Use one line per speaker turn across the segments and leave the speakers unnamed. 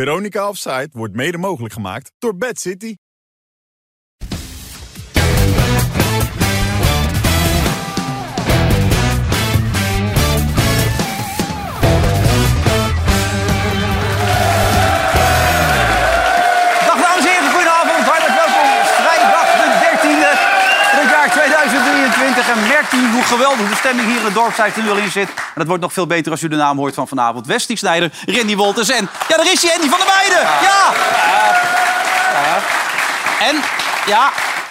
Veronica Offside wordt mede mogelijk gemaakt door Bad City.
Dag dames en heren, goedenavond. Hartelijk welkom. Vrijdag de 13e van het jaar 2023. En merkt u hoe geweldig de stemming hier in het dorpshuis er nu al in zit. En dat wordt nog veel beter als u de naam hoort van vanavond. Westie Snijder, Randy Wolters en... Ja, daar is hij, Andy van der Meijden. Ja! En, ja...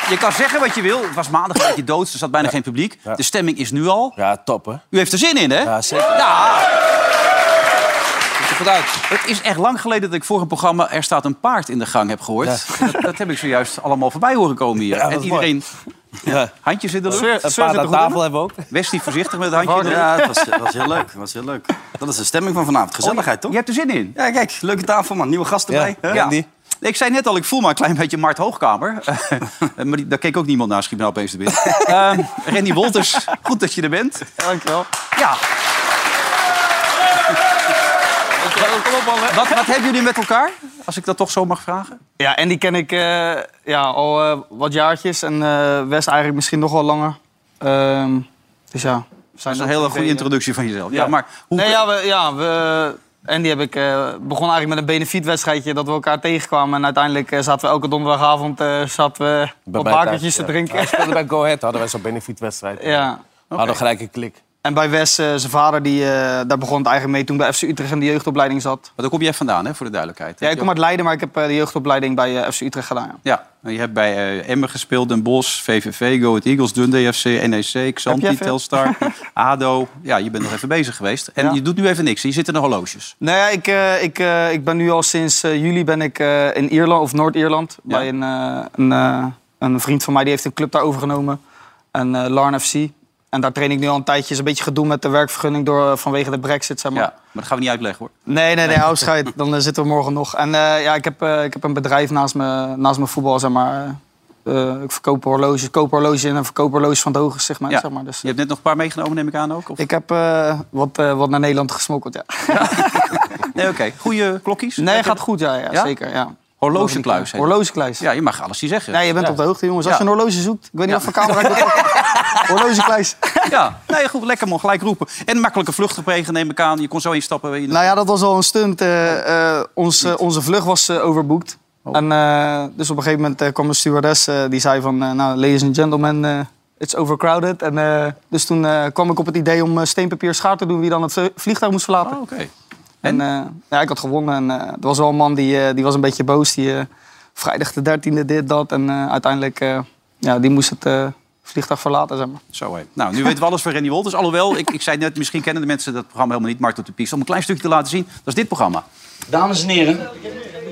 Je kan zeggen wat je wil. Het was maandag een beetje dood. Er zat bijna geen publiek. De stemming is nu al.
Ja, top hè?
U heeft er zin in, hè?
Ja, zeker.
Ja,
Ziet er goed uit.
Het is echt lang geleden dat ik voor een programma Er staat een paard in de gang heb gehoord. Dat, dat heb ik zojuist allemaal voorbij horen komen hier.
Ja, dat
en
is
iedereen
Ja.
handjes in de lucht.
Een paar aan tafel hebben we ook.
Westie voorzichtig met het handje in de lucht.
Oh, Ja, het was, het was heel leuk. Het was heel leuk. Dat is de stemming van vanavond. Gezelligheid, toch?
Je hebt er zin in.
Ja, kijk, leuke tafel, man. Nieuwe gasten bij.
Ja.
hè?
Ja.
Andy?
Nee, Ik zei net al, ik voel me een klein beetje Mart Hoogkamer. Eh, maar die, daar keek ook niemand naar, schiet me nou opeens te binnen. Ehm, Randy Wolters, goed dat je er bent.
Dankjewel.
Ja,
Kom op, man.
wat, wat hebben jullie met elkaar? Als ik dat toch zo mag vragen.
Ja, en die ken ik eh, ja, al eh, wat jaartjes. En eh Wes eigenlijk misschien nog wel langer. Ehm, dus ja. we
Dat
Zijn
is een hele goede
introductie.
introductie van jezelf. Ja, maar hoe...
Nee, ja, we, ja, we, en die heb ik, eh begon eigenlijk met een benefietwedstrijdje dat we elkaar tegenkwamen. En uiteindelijk eh, zaten we elke donderdagavond eh, zaten we
Bij
op
mij
bakertjes
thuis,
te
ja.
drinken.
Wij speelden bij Go Ahead, hadden wij zo'n benefietwedstrijd.
Ja.
We Hadden gelijk een klik.
En bij Wes, eh, zijn vader, die, eh, daar begon het eigenlijk mee toen bij FC Utrecht in de jeugdopleiding zat.
Maar daar kom jij vandaan, hè, voor de duidelijkheid.
Ja, ik kom uit Leiden, maar ik heb eh, de jeugdopleiding bij eh, FC Utrecht gedaan. ja.
Ja, je hebt bij eh, Emmen gespeeld, Den Bosch, VVV, Go Ahead Eagles, Dundee FC, NEC,
Heb
E Xanti,
jij veel?
Telstar, ADO. Ja, je bent nog even bezig geweest. En
Ja.
je doet nu even niks. Je zit in de horloges.
Nou ja, ik, eh, ik, eh, ik ben nu al sinds eh, juli ben ik, eh, in Ierland of Noord-Ierland.
Ja.
Bij een, eh, een, eh, een vriend van mij die heeft een club daar overgenomen. Een eh, Larn FC. En daar train ik nu al een tijdje. Is een beetje gedoe met de werkvergunning door, eh, vanwege de brexit, zeg
Ja,
maar.
maar dat gaan we niet uitleggen hoor.
Nee, nee, nee, hou scheid. Dan eh, zitten we morgen nog. En eh, ja, ik heb, eh, ik heb een bedrijf naast mijn, naast mijn voetbal, zeg maar. Eh, ik verkoop horloges, ik koop horloges in en verkoop horloges van het hoge segment,
Ja.
zeg maar. Dus,
Je hebt net nog een paar meegenomen, neem ik aan ook. Of...
ik heb eh, wat, eh, wat naar Nederland gesmokkeld, ja.
Nee, oké. Goede klokjes?
Nee, gaat goed, ja, ja,
Ja?
zeker, ja.
Horlogekluis. heet het.
Horlogekluis.
Ja, je mag alles niet zeggen.
Nee, je bent op de hoogte, jongens. Als
Ja.
je een horloge zoekt, ik weet niet of een camera ik dat- Horlogekluis.
Ja, nee, goed, lekker man, gelijk roepen. En makkelijke vlucht gepleegd, neem ik aan. Je kon zo instappen. weet je-
Nou ja, dat was al een stunt. eh, eh, ons, eh, onze vlucht was eh, overboekt. En, eh, dus op een gegeven moment eh, kwam een stewardess eh, die zei van... eh, nou, ladies and gentlemen, eh, it's overcrowded. En, eh, dus toen eh, kwam ik op het idee om eh, steen, papier, schaar te doen... wie dan het vlie- vliegtuig moest verlaten.
Oh, oké.
En, eh, ja, ik had gewonnen. En eh, er was wel een man die, eh, die was een beetje boos. Die eh, vrijdag de 13e dit, dat. En eh, uiteindelijk, eh, ja, die moest het eh, vliegtuig verlaten, zeg maar.
Zo hé. Nou, nu weten we alles van Randy Wolters. Alhoewel, ik, ik zei net, misschien kennen de mensen dat programma helemaal niet, Markt op de Pies. Om een klein stukje te laten zien, dat is dit programma.
Dames en heren,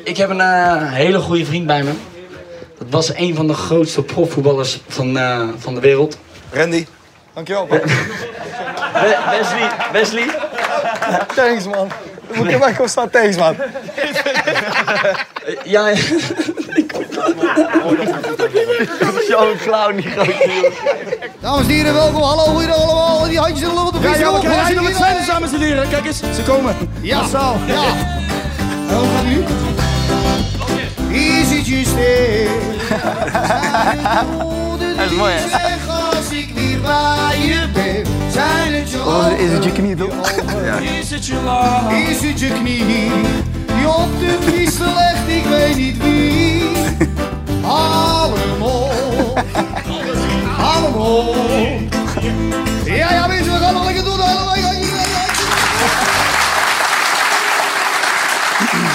ik heb een eh, hele goede vriend bij me. Dat was een van de grootste profvoetballers van, eh, van de wereld.
Randy. Dankjewel.
We- Wesley, Wesley,
Thanks, man. Moet je mij constant thanks, man.
eh, ja... ik- Zo'n clown, die grote jongen.
Dames en heren, welkom. Hallo, goeiedag allemaal. Die handjes in de lucht op de
Ja,
fiets.
ja, we krijgen hier
Hallo,
nog het
iedereen.
zijn, dames en heren. Kijk eens, ze komen.
eh? Ja, ja. En hoe gaat het nu? Hier zit je stil. Dat is mooi, hè? Als ik weer bij je ben, zijn het je
Oh,
ogen. Is het je knie, toch? Ja. Is het je lach? Is het je knie? Die op de fiets legt, ik weet niet wie. Allemaal. Allemaal. Ja, ja, mensen, we gaan nog lekker doen. Allemaal, ja, ja, ja.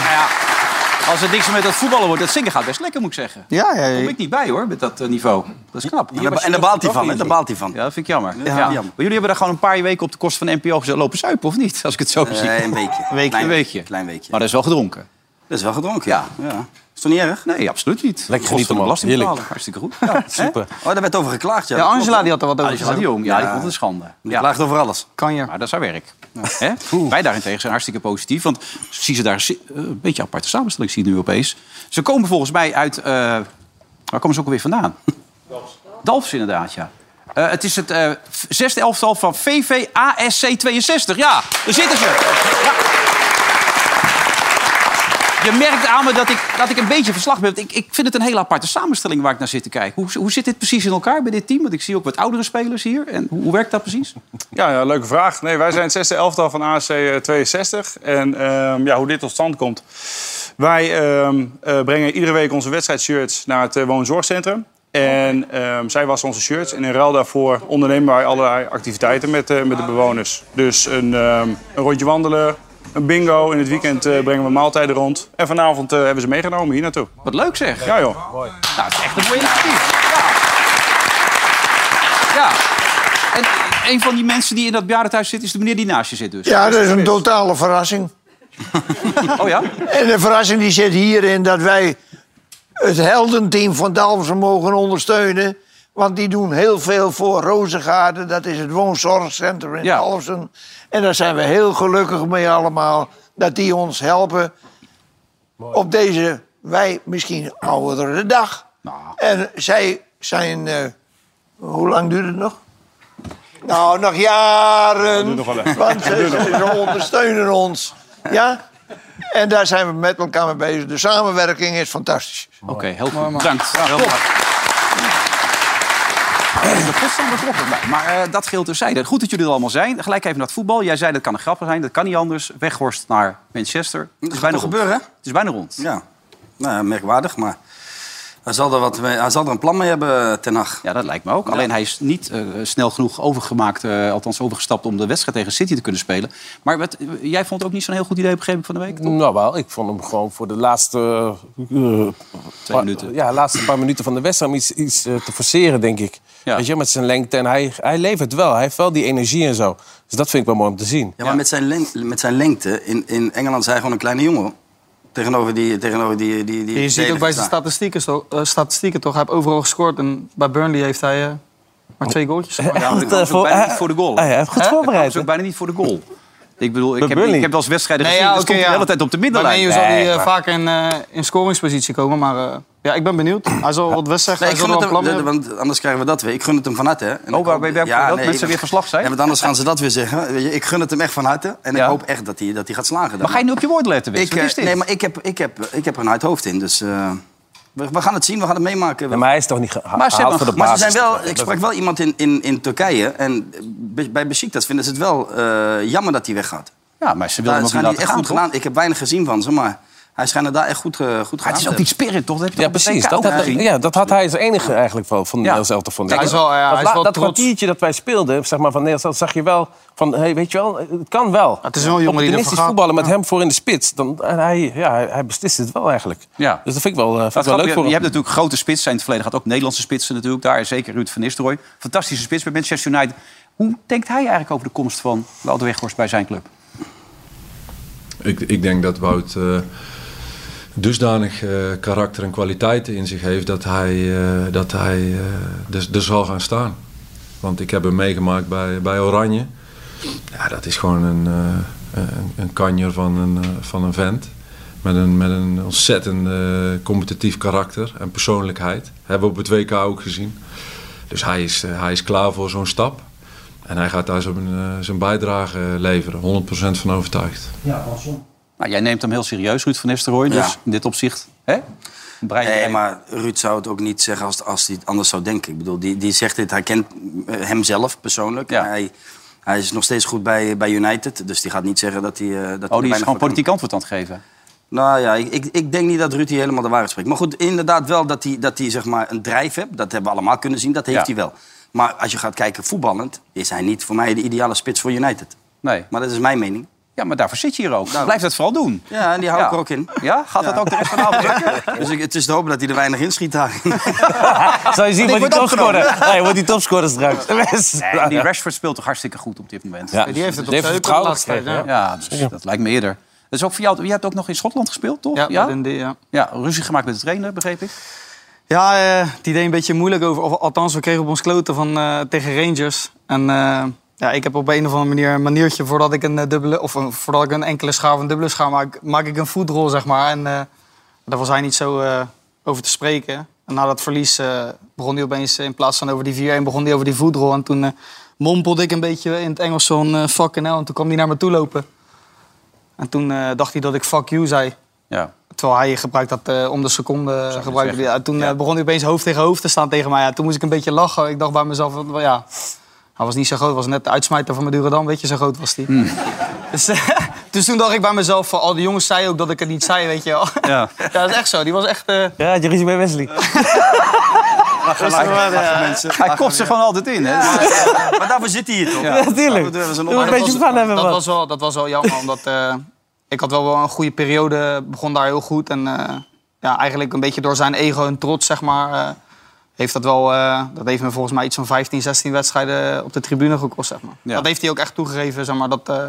Nou ja, als het niks met dat voetballen wordt, dat zingen gaat best lekker, moet ik zeggen. Daar
Ja, ja, ja.
kom ik niet bij hoor, met dat eh, niveau. Dat is knap.
En daar, en daar baalt hij van, hè? Daar baalt hij van.
Ja, dat vind ik jammer. Ja.
jammer.
Maar jullie hebben daar gewoon een paar weken op de kosten van NPO gezet lopen zuipen, of niet? Als ik het zo zie.
Eh, een weekje.
Weekje.
Klein
Een weekje.
Klein weekje.
Maar dat is wel gedronken.
Dat is wel gedronken. Ja. ja. Is toch niet erg?
Nee, absoluut niet. Kosten
genieten,
van de
man.
belasting
Heerlijk.
betalen. Hartstikke goed. Ja,
Super.
Oh, daar werd over geklaagd,
Ja,
ja. Ah, Dat klopt,
Angela
hè?
die had er wat over
Alice
gezegd.
Jong, ja, die vond het een schande.
Die
Ja.
klaagt over alles.
Kan je.
Maar dat is haar werk. Hè? Wij daarentegen zijn hartstikke positief. Want zie ze daar zi- eh, een beetje aparte samenstelling zien nu opeens. Ze komen volgens mij uit... eh, waar komen ze ook alweer vandaan? Dalfs inderdaad, ja. Eh, het is het eh, v- zesde elftal van VVASC 62. Ja, daar zitten ze. Ja. Je merkt aan me dat ik, dat ik een beetje verslag ben. Want Ik, ik vind het een hele aparte samenstelling waar ik naar zit te kijken. Hoe, hoe zit dit precies in elkaar bij dit team? Want ik zie ook wat oudere spelers hier. En hoe, hoe werkt dat precies?
Ja, ja, leuke vraag. Nee, wij zijn het zesde elftal van ASC 62. En ehm, ja, hoe dit tot stand komt. Wij ehm, eh, brengen iedere week onze wedstrijdshirts naar het eh, woonzorgcentrum. En ehm, zij wassen onze shirts. En in ruil daarvoor ondernemen wij allerlei activiteiten met, eh, met de bewoners. Dus een, ehm, een rondje wandelen, een bingo. In het weekend eh, brengen we maaltijden rond. En vanavond eh, hebben ze meegenomen hier naartoe.
Wat leuk zeg.
Ja joh.
Nou, het is echt een mooi initiatief. Ja. ja. En een van die mensen die in dat bejaardentehuis zit, is de meneer die naast je zit dus.
Ja, dat is een totale verrassing.
Oh ja?
En de verrassing die zit hierin dat wij het heldenteam van Dalversen mogen ondersteunen. Want die doen heel veel voor Rozengaarden. Dat is het woonzorgcentrum in
Ja.
Dalfsen. En daar zijn we heel gelukkig mee allemaal. Dat die ons helpen op deze, wij misschien oudere dag. En zij zijn, eh, hoe lang duurt het nog? Nou, nog jaren.
Oh, nog wel even.
Want ze, ze ondersteunen ons. Ja? En daar zijn we met elkaar mee bezig. De samenwerking is fantastisch.
Oké, heel goed. Bedankt. Ja, heel goed. De post stond er kloppen bij. Maar eh, dat geldt terzijde. Goed dat jullie er allemaal zijn. Gelijk even naar het voetbal. Jij zei dat kan een grap zijn, dat kan niet anders. Weghorst naar Manchester. Het is
gaat
bijna
toch
rond.
gebeuren, hè?
Het is bijna rond.
Ja, nou, ja, merkwaardig, maar hij zal, er wat mee, hij zal er een plan mee hebben, eh, Ten Hag.
Ja, dat lijkt me ook. Alleen hij is niet eh, snel genoeg overgemaakt, eh, althans overgestapt om de wedstrijd tegen City te kunnen spelen. Maar wat, eh, jij vond het ook niet zo'n heel goed idee op een gegeven moment van de week?
Nou wel, ik vond hem gewoon voor de laatste... eh, eh, paar-
minuten.
Ja, laatste paar minuten van de wedstrijd om iets, iets eh, te forceren, denk ik.
Ja.
Weet je, met zijn lengte. En hij, hij levert wel. Hij heeft wel die energie en zo. Dus dat vind ik wel mooi om te zien.
Ja, maar Met, zijn leng- met zijn lengte, in, in Engeland zijn hij gewoon een kleine jongen. hoor. Tegenover die... Tegenover die, die, die
Je ziet ook bij zijn
stad.
statistieken, zo- eh, statistieken toch. Hij heeft overal gescoord. En bij Burnley heeft hij eh, maar twee goaltjes. gemaakt.
Ja, maar dat
eh,
kwam ze ook
voor-
bijna
eh,
niet voor de goal.
ah, ja, hij heeft goed
Hè?
voorbereid,
Dat kwam ze ook bijna niet voor de goal. Ik bedoel, ik heb,
Burnley.
ik heb wel eens wedstrijden
Nee,
gezien.
ja,
daar
oké,
dus stond hij de hele tijd op de middenlijn.
Bij Menu zal hij
Nee,
eh,
maar-
vaak in, eh, in scoringspositie komen. Maar eh, ja, ik ben benieuwd. Hij zal wat wedstrijden,
Nee, ik
hij zal
gun
wel
het
een
hem,
plan
de- de-
hebben.
want anders krijgen we dat weer. Ik gun het hem van harte. hè. En ik hoop-
waarbij werkt dat? Mensen
ik-
weer verslag zijn?
Ja, want anders gaan ze dat weer zeggen. Weet je, Ik gun het hem echt van harte. En
Ja.
ik hoop echt dat hij, dat hij gaat slagen. dan.
Maar ga je nu op je woord letten, Wits?
ik,
Wat
eh,
is dit?
Nee, maar ik heb, ik, heb, ik heb er een hard hoofd in. Dus eh, we, we gaan het zien, we gaan het meemaken.
Ja, maar hij is toch niet geha-
hebben
gehaald voor de
Maar ze
basis?
zijn wel, ik sprak wel iemand in, in, in Turkije. En be- bij Besiktas vinden ze het wel eh, jammer dat hij weggaat.
Ja, maar ze wilden hem
Daar
ook niet
schijnt hij
laten
echt
gaan,
goed
toch?
gedaan. Ik heb weinig gezien van ze, maar hij schijnt het daar echt goed, eh, goed
Maar
gedaan
het is ook
te
die spirit, toch? Dat heb je
Ja,
toch op de
precies.
WK
Dat
ook
had,
gezien?
ja, dat had hij als enige eigenlijk wel
Ja.
van Nederlands elftal. Vond ik.
Hij is wel- ja, hij
dat
is
la-
wel
dat
trots.
kwartiertje dat wij speelden zeg maar, van Nederlands elftal, zag je wel van... Hey, weet je wel, het kan wel.
Het is wel een jongen die ervoor
Opportunistisch
gaat.
voetballen met hem voor in de spits. Dan, en hij, ja, hij- hij beslist het wel eigenlijk.
Ja.
Dus dat vind ik wel, eh, vind ik
Dat
wel
grappig,
leuk
je,
voor
je
hem.
hebt natuurlijk grote spitsen. In het verleden gaat ook Nederlandse spitsen natuurlijk daar. Zeker Ruud van Nistelrooy. Fantastische spits bij Manchester United. Hoe denkt hij eigenlijk over de komst van Wouter Weghorst bij zijn club?
Ik, ik denk dat Wout eh, dusdanig eh, karakter en kwaliteiten in zich heeft dat hij, eh, dat hij eh, er- er zal gaan staan. Want ik heb hem meegemaakt bij, bij Oranje. Ja, dat is gewoon een, eh, een, een kanjer van een, eh, van een vent. Met een, met een ontzettend eh, competitief karakter en persoonlijkheid. Hebben we op het WK ook gezien. Dus hij is, eh, hij is klaar voor zo'n stap. En hij gaat daar zijn, eh, zijn bijdrage leveren. 100% van overtuigd.
Nou, jij neemt hem heel serieus, Ruud van Nistelrooy. Dus
Ja.
in dit opzicht... Hè? Brein-
Nee, maar Ruud zou het ook niet zeggen als, als hij het anders zou denken. Ik bedoel, die, die zegt dit, hij kent eh, hemzelf persoonlijk.
Ja.
En Hij, hij is nog steeds goed bij, bij United, dus die gaat niet zeggen dat hij... eh, dat hij
Oh, die
weinig
is
voor
gewoon
kan.
politiek antwoord aan het geven.
Nou ja, ik, ik, ik denk niet dat Ruud hier helemaal de waarheid spreekt. Maar goed, inderdaad wel dat hij, dat hij zeg maar een drijf heeft. Dat hebben we allemaal kunnen zien, dat heeft
Ja.
hij wel. Maar als je gaat kijken voetballend, is hij niet voor mij de ideale spits voor United.
Nee.
Maar dat is mijn mening.
Ja, maar daarvoor zit je hier
Nou.
ook. Blijf dat vooral doen.
Ja, en die hou ik er ook in.
Ja? Gaat dat ook de rest van de avond lukken?
Dus ik, het is te hopen dat hij er weinig in schiet daar.
Zal je zien
Want
wat
ik
die
word opgenomen.
topscorer... Nee, wordt die topscorer straks.
Nee, die Rashford speelt toch hartstikke goed op dit moment.
Ja.
Die heeft het op
Die
zijn
heeft
heupen
vertrouwen
laatst
gekregen,
tijd,
Ja, dus dat lijkt me eerder. Dat is ook voor jou. Je hebt ook nog in Schotland gespeeld, toch?
Ja, ja?
ja?
die, ja.
Ja, ruzie gemaakt met de trainer, begreep ik.
Ja, eh, die deed een beetje moeilijk over. Of, althans, we kregen op ons kloten van, eh, tegen Rangers. En eh, ja, ik heb op een of andere manier een maniertje voordat ik een, eh, dubbele, of een- voordat ik een enkele schaar of een dubbele schaar maak, maak ik een voetrol, zeg maar. En eh, daar was hij niet zo eh, over te spreken. En na dat verlies eh, begon hij opeens, eh, in plaats van over die 4-1, begon hij over die voetrol. En toen eh, mompelde ik een beetje in het Engels zo'n eh, fucking hell. En toen kwam hij naar me toe lopen. En toen eh, dacht hij dat ik fuck you zei.
Ja.
Terwijl hij gebruikt dat eh, om de seconde. Gebruikt,
zeggen.
ja, toen eh, begon hij opeens hoofd tegen hoofd te staan tegen mij. Ja, toen moest ik een beetje lachen. Ik dacht bij mezelf, van, wel, ja, hij was niet zo groot. Hij was net de uitsmijter van Madurodam, weet je, zo groot was hij.
Hmm.
Dus, eh, dus toen dacht ik bij mezelf, van, al die jongens zeiden ook dat ik het niet zei, weet je wel.
Ja.
Ja, dat is echt zo. Die was echt... eh,
Ja, je ruzie bij Wesley.
rustig maar, eh,
Hij kopt ze gewoon altijd in. Hè?
Maar daarvoor zit hij hier toch?
Ja, natuurlijk.
Daarvoor durven ze nog-
Doe een
Maar dat
beetje
was-
van hebben,
dat
man.
was, wel, dat was wel jammer, omdat eh, ik had wel, wel een goede periode. Begon daar heel goed. En eh, ja, eigenlijk een beetje door zijn ego en trots, zeg maar... eh, heeft dat, wel, eh, dat heeft me volgens mij iets van 15, 16 wedstrijden op de tribune gekost. Zeg maar.
Ja.
Dat heeft hij ook echt toegegeven. Zeg maar, dat, eh
Wie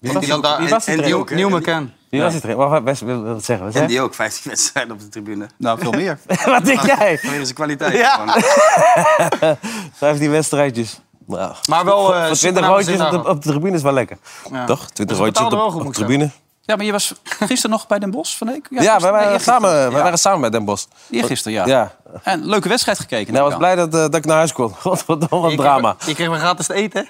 dat
was
hij dat
die- wie was die
en- en
trainer
Nieuw-
ook, hè?
Nieuw McCann.
Die was het erin. Wacht, Wes wil wil het zeggen. Wat,
En
zeg?
die ook, 15 wedstrijden op de tribune.
Nou, veel meer.
wat denk jij?
Vanwege zijn kwaliteit.
Ja.
gewoon.
Vijftien wedstrijdjes. Nou,
Maar wel... eh, super
voor 20
naar
roodjes
mijn
op
zin
de, op de tribune is wel lekker.
Ja.
Toch? 20
Ze
roodjes op de,
betalen wel goed,
op
moet
de
ik zeggen.
tribune.
Ja, maar je was gisteren nog bij Den Bosch van de week?
Ja, wij
gisteren. Nee,
waren,
eergisteren.
samen, wij waren samen bij Den Bosch.
Hier gisteren, ja.
Ja.
En leuke wedstrijd gekeken.
En hij was
neem ik
blij dat, eh, dat ik naar huis kon. Godverdomme, wat
Je kreeg-
drama.
Je kreeg maar gratis te eten, hè?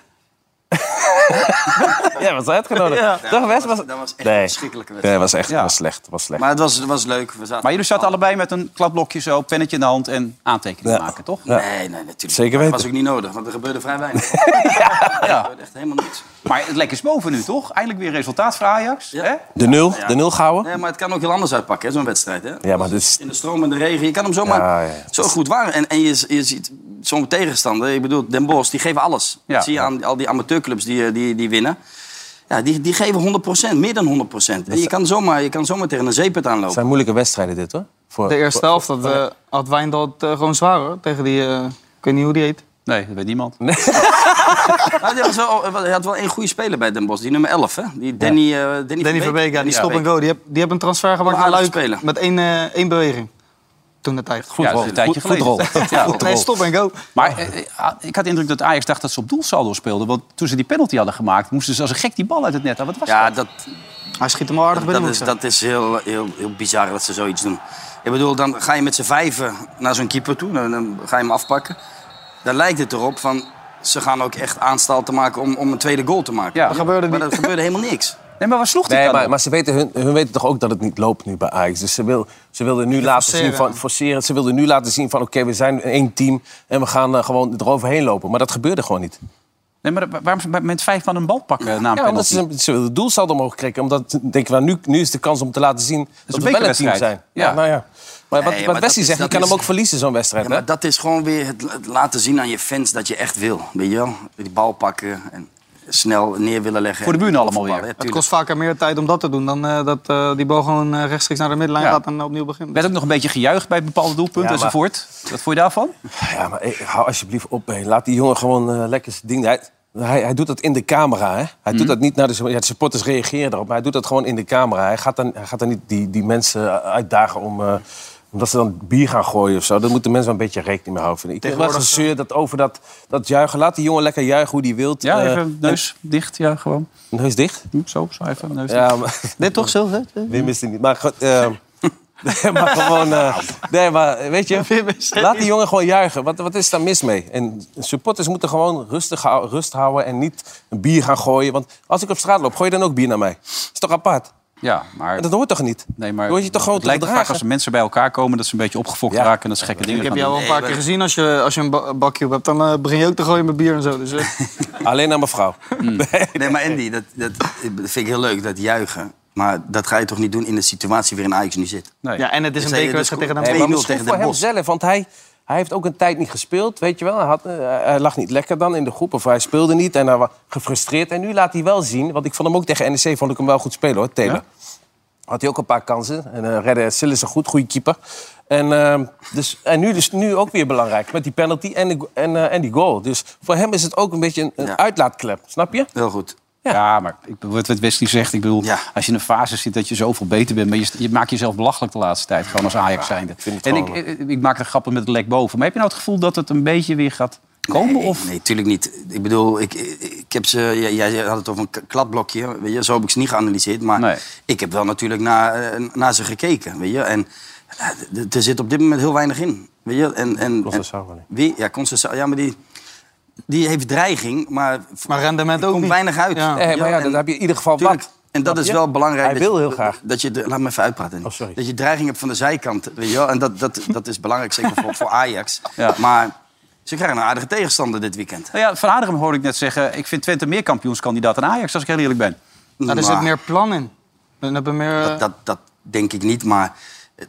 Ja, was uitgenodigd. Toch, Wes? Was...
Dat was echt een
Nee.
verschrikkelijke wedstrijd.
Nee, was echt
Ja.
was slecht. Was slecht.
Maar het was, het was leuk. We zaten
aan. Maar jullie zaten allebei met een kladblokje zo, pennetje in de hand en aantekeningen
Ja.
maken, toch?
Ja.
Nee, nee, natuurlijk.
Zeker
Maar
weten.
Dat was ook niet nodig, want er gebeurde vrij weinig. ja. Er gebeurde echt helemaal niets.
Maar het lek is boven nu, toch? Eindelijk weer resultaat voor Ajax.
Ja.
Hè?
De nul, de nul gouden.
Nee, maar het kan ook heel anders uitpakken, hè, zo'n wedstrijd. Hè?
Ja, maar dit is...
In de stroom en de regen. Je kan hem zomaar
Ja, ja.
zo goed waren. En, en je, je ziet zo'n tegenstander. Ik bedoel, Den Bosch, die geven alles.
Ja.
Dat zie je aan al die amateurclubs die, eh, die, die winnen. Ja, die, die geven 100%, meer dan 100%. En je kan zomaar, je kan zomaar tegen een zeepert
Het
aanlopen.
zijn moeilijke wedstrijden dit, hoor. Voor...
De eerste helft dat, eh, had Wijndal het eh, gewoon zwaar, hoor. Tegen die... eh, ik weet niet hoe die heet.
Nee, dat weet niemand.
Maar hij, was wel, hij had wel één goede speler bij Den Bosch, die nummer 11. Hè? Die Danny, eh, Danny,
Danny Verbeek, ja, die stop en
Verbeek.
go. Die hebben die hebben een transfer gemaakt
Om
naar
aardig te
Luik.
spelen.
Met één, eh, één beweging. Toen de tijd.
ja, dat is een tijdje
goed-
geleden.
goed
Ja.
Nee, stop en go.
Maar eh, eh, ik had de indruk dat Ajax dacht dat ze op doelsaldo speelden. Want toen ze die penalty hadden gemaakt, moesten ze als een gek die bal uit het net halen. Wat was
Ja,
dat?
dat,
Hij schiet hem wel aardig binnen.
dat
moet ik
is, dat is heel, heel, heel bizar dat ze zoiets doen. Ik bedoel, dan ga je met z'n vijven naar zo'n keeper toe. Dan, dan ga je hem afpakken. Dan lijkt het erop van... Ze gaan ook echt aanstal te maken om, om een tweede goal te maken.
Ja. Dat
gebeurde
maar
niet.
dat gebeurde helemaal niks.
Nee, maar waar sloeg die
Nee,
dan
maar,
op?
maar ze weten, hun, hun weten toch ook dat het niet loopt nu bij Ajax. Dus ze, wil, ze wilden nu laten zien
forceren.
van forceren. Ze wilden nu laten zien van oké, we zijn één team en we gaan eh, gewoon eroverheen lopen. Maar dat gebeurde gewoon niet.
Nee, maar waarom ze bij- met vijf man een bal pakken eh, na een
Ja, omdat
penalty?
ze, ze wilden het doelsaldo omhoog krikken. Omdat denk je, nou, nu, nu is de kans om te laten zien dat,
een
we wel een team
bekerwedstrijd.
zijn.
Ja.
nou ja. Maar wat,
Nee,
wat
maar dat
Wesley
is-
zegt, je
dat
kan
is-
hem ook verliezen zo'n wedstrijd.
Ja,
hè?
maar dat is gewoon weer het het laten zien aan je fans dat je echt wil. Weet je wel? Die bal pakken en snel neer willen leggen.
Voor de buren allemaal
Voetballen,
weer.
hè,
Het
tuurlijk.
kost vaker meer tijd om dat te doen dan eh, dat eh, die bal gewoon eh, rechtstreeks naar de middenlijn
Ja.
gaat en opnieuw begint.
werd ook nog een beetje gejuicht bij bepaalde doelpunten
Ja, maar-
enzovoort. Wat vond je daarvan?
Ja, maar eh, hou alsjeblieft op. hé. Laat die jongen gewoon eh, lekker zijn ding. Hij, hij, hij doet dat in de camera. Hè? Hij doet dat niet naar de, ja, de supporters reageren daarop. Maar hij doet dat gewoon in de camera. Hij gaat dan, hij gaat dan niet die, die mensen uitdagen om. eh, omdat ze dan bier gaan gooien of zo. Daar moeten mensen wel een beetje rekening mee houden. Vind ik. Ik heb wel
Tegenwoordig,
gezeur dat over dat, dat juichen. Laat die jongen lekker juichen hoe die wilt.
Ja,
Eh,
even neus dicht. Ja, gewoon.
en- Neus dicht?
Hm, Zo, zo even neus dicht.
Ja, maar,
Dit eh? toch, Silver?
Wim is er niet. Maar, goed, eh, nee, maar gewoon... eh, nee, maar weet je...
Wim is er
Laat die jongen gewoon juichen. Wat, wat is daar mis mee? En supporters moeten gewoon rustig hou- rust houden en niet een bier gaan gooien. Want als ik op straat loop, gooi je dan ook bier naar mij. is toch apart?
Ja, maar...
En dat hoort toch niet?
Nee, maar
Dan word je toch gewoon
het lijkt
te
er vaak
gedragen?
als er mensen bij elkaar komen... dat ze een beetje opgefokt
Ja.
raken en dat ze gekke dingen
Ik heb
gaan
jou al een paar keer gezien. Als je, als je een ba- bakje op hebt, dan eh, begin je ook te gooien met bier en zo. Dus, eh,
Alleen naar mevrouw.
Hmm.
Nee.
Nee, maar Andy, dat, dat vind ik heel leuk, dat juichen. Maar dat ga je toch niet doen in de situatie waarin Ajax nu zit?
doen. Nee.
ja, en het is een
Dus hij-
bekerwedstrijd
dus-
tegen
Nee,
een
maar
2-0
misschien
tegen
voor
Den Bosch.
hem zelf. Want hij, hij heeft ook een tijd niet gespeeld, weet je wel. Hij, had, eh, hij lag niet lekker dan in de groep. Of hij speelde niet en hij was gefrustreerd. En nu laat hij wel zien, want ik vond hem ook tegen NEC vond ik hem wel goed spelen hoor, Taylor. Had hij ook een paar kansen. En eh redde Sillis een goed, goede keeper. En, ehm, dus, en nu, dus, nu ook weer belangrijk met die penalty en, de go- en, eh, en die goal. Dus voor hem is het ook een beetje een, een
Ja.
uitlaatklep, snap je?
Heel goed.
Ja. maar ik, bedoel, wat Wesley zegt, ik bedoel,
Ja.
als je in een fase zit dat je zoveel beter bent... maar je, je maakt jezelf belachelijk de laatste tijd, gewoon als Ajax zijnde.
vind het
en ik,
gewoon-
ik, eh, ik maak er grappen met het lek boven. Maar heb je nou het gevoel dat het een beetje weer gaat komen?
Nee,
of?
Nee, tuurlijk niet. Ik bedoel, ik, ik heb ze, jij, jij had het over een k- kladblokje. Weet je, zo heb ik ze niet geanalyseerd. Maar
Nee.
ik heb wel natuurlijk naar, eh, naar ze gekeken. Weet je? En eh, d- d- er zit op dit moment heel weinig in. Weet je? En, en,
Concecao wel,
en- wie? Ja, Concecao. Ja, maar die, die heeft dreiging, maar,
Maar rendement
er
ook
komt
niet.
weinig uit.
Ja.
Weet je
Eh, maar
wel?
ja, dan
En-
heb je in ieder geval
Tuurlijk.
wat.
En dat
Snap
is
je?
wel belangrijk.
Hij
dat je-
wil heel graag.
Dat je, de- laat me even uitpraten.
Oh, sorry.
Dat je dreiging hebt van de zijkant. Weet je wel? En dat, dat, dat is belangrijk, zeker voor, voor Ajax.
Ja.
Maar ze krijgen een aardige tegenstander dit weekend.
Nou ja, van Aardigem hoorde ik net zeggen... ik vind Twente meer kampioenskandidaat dan Ajax, als ik heel eerlijk ben.
Nou, er zit
Maar
meer plan in. We hebben meer... eh,
dat, dat, dat denk ik niet. Maar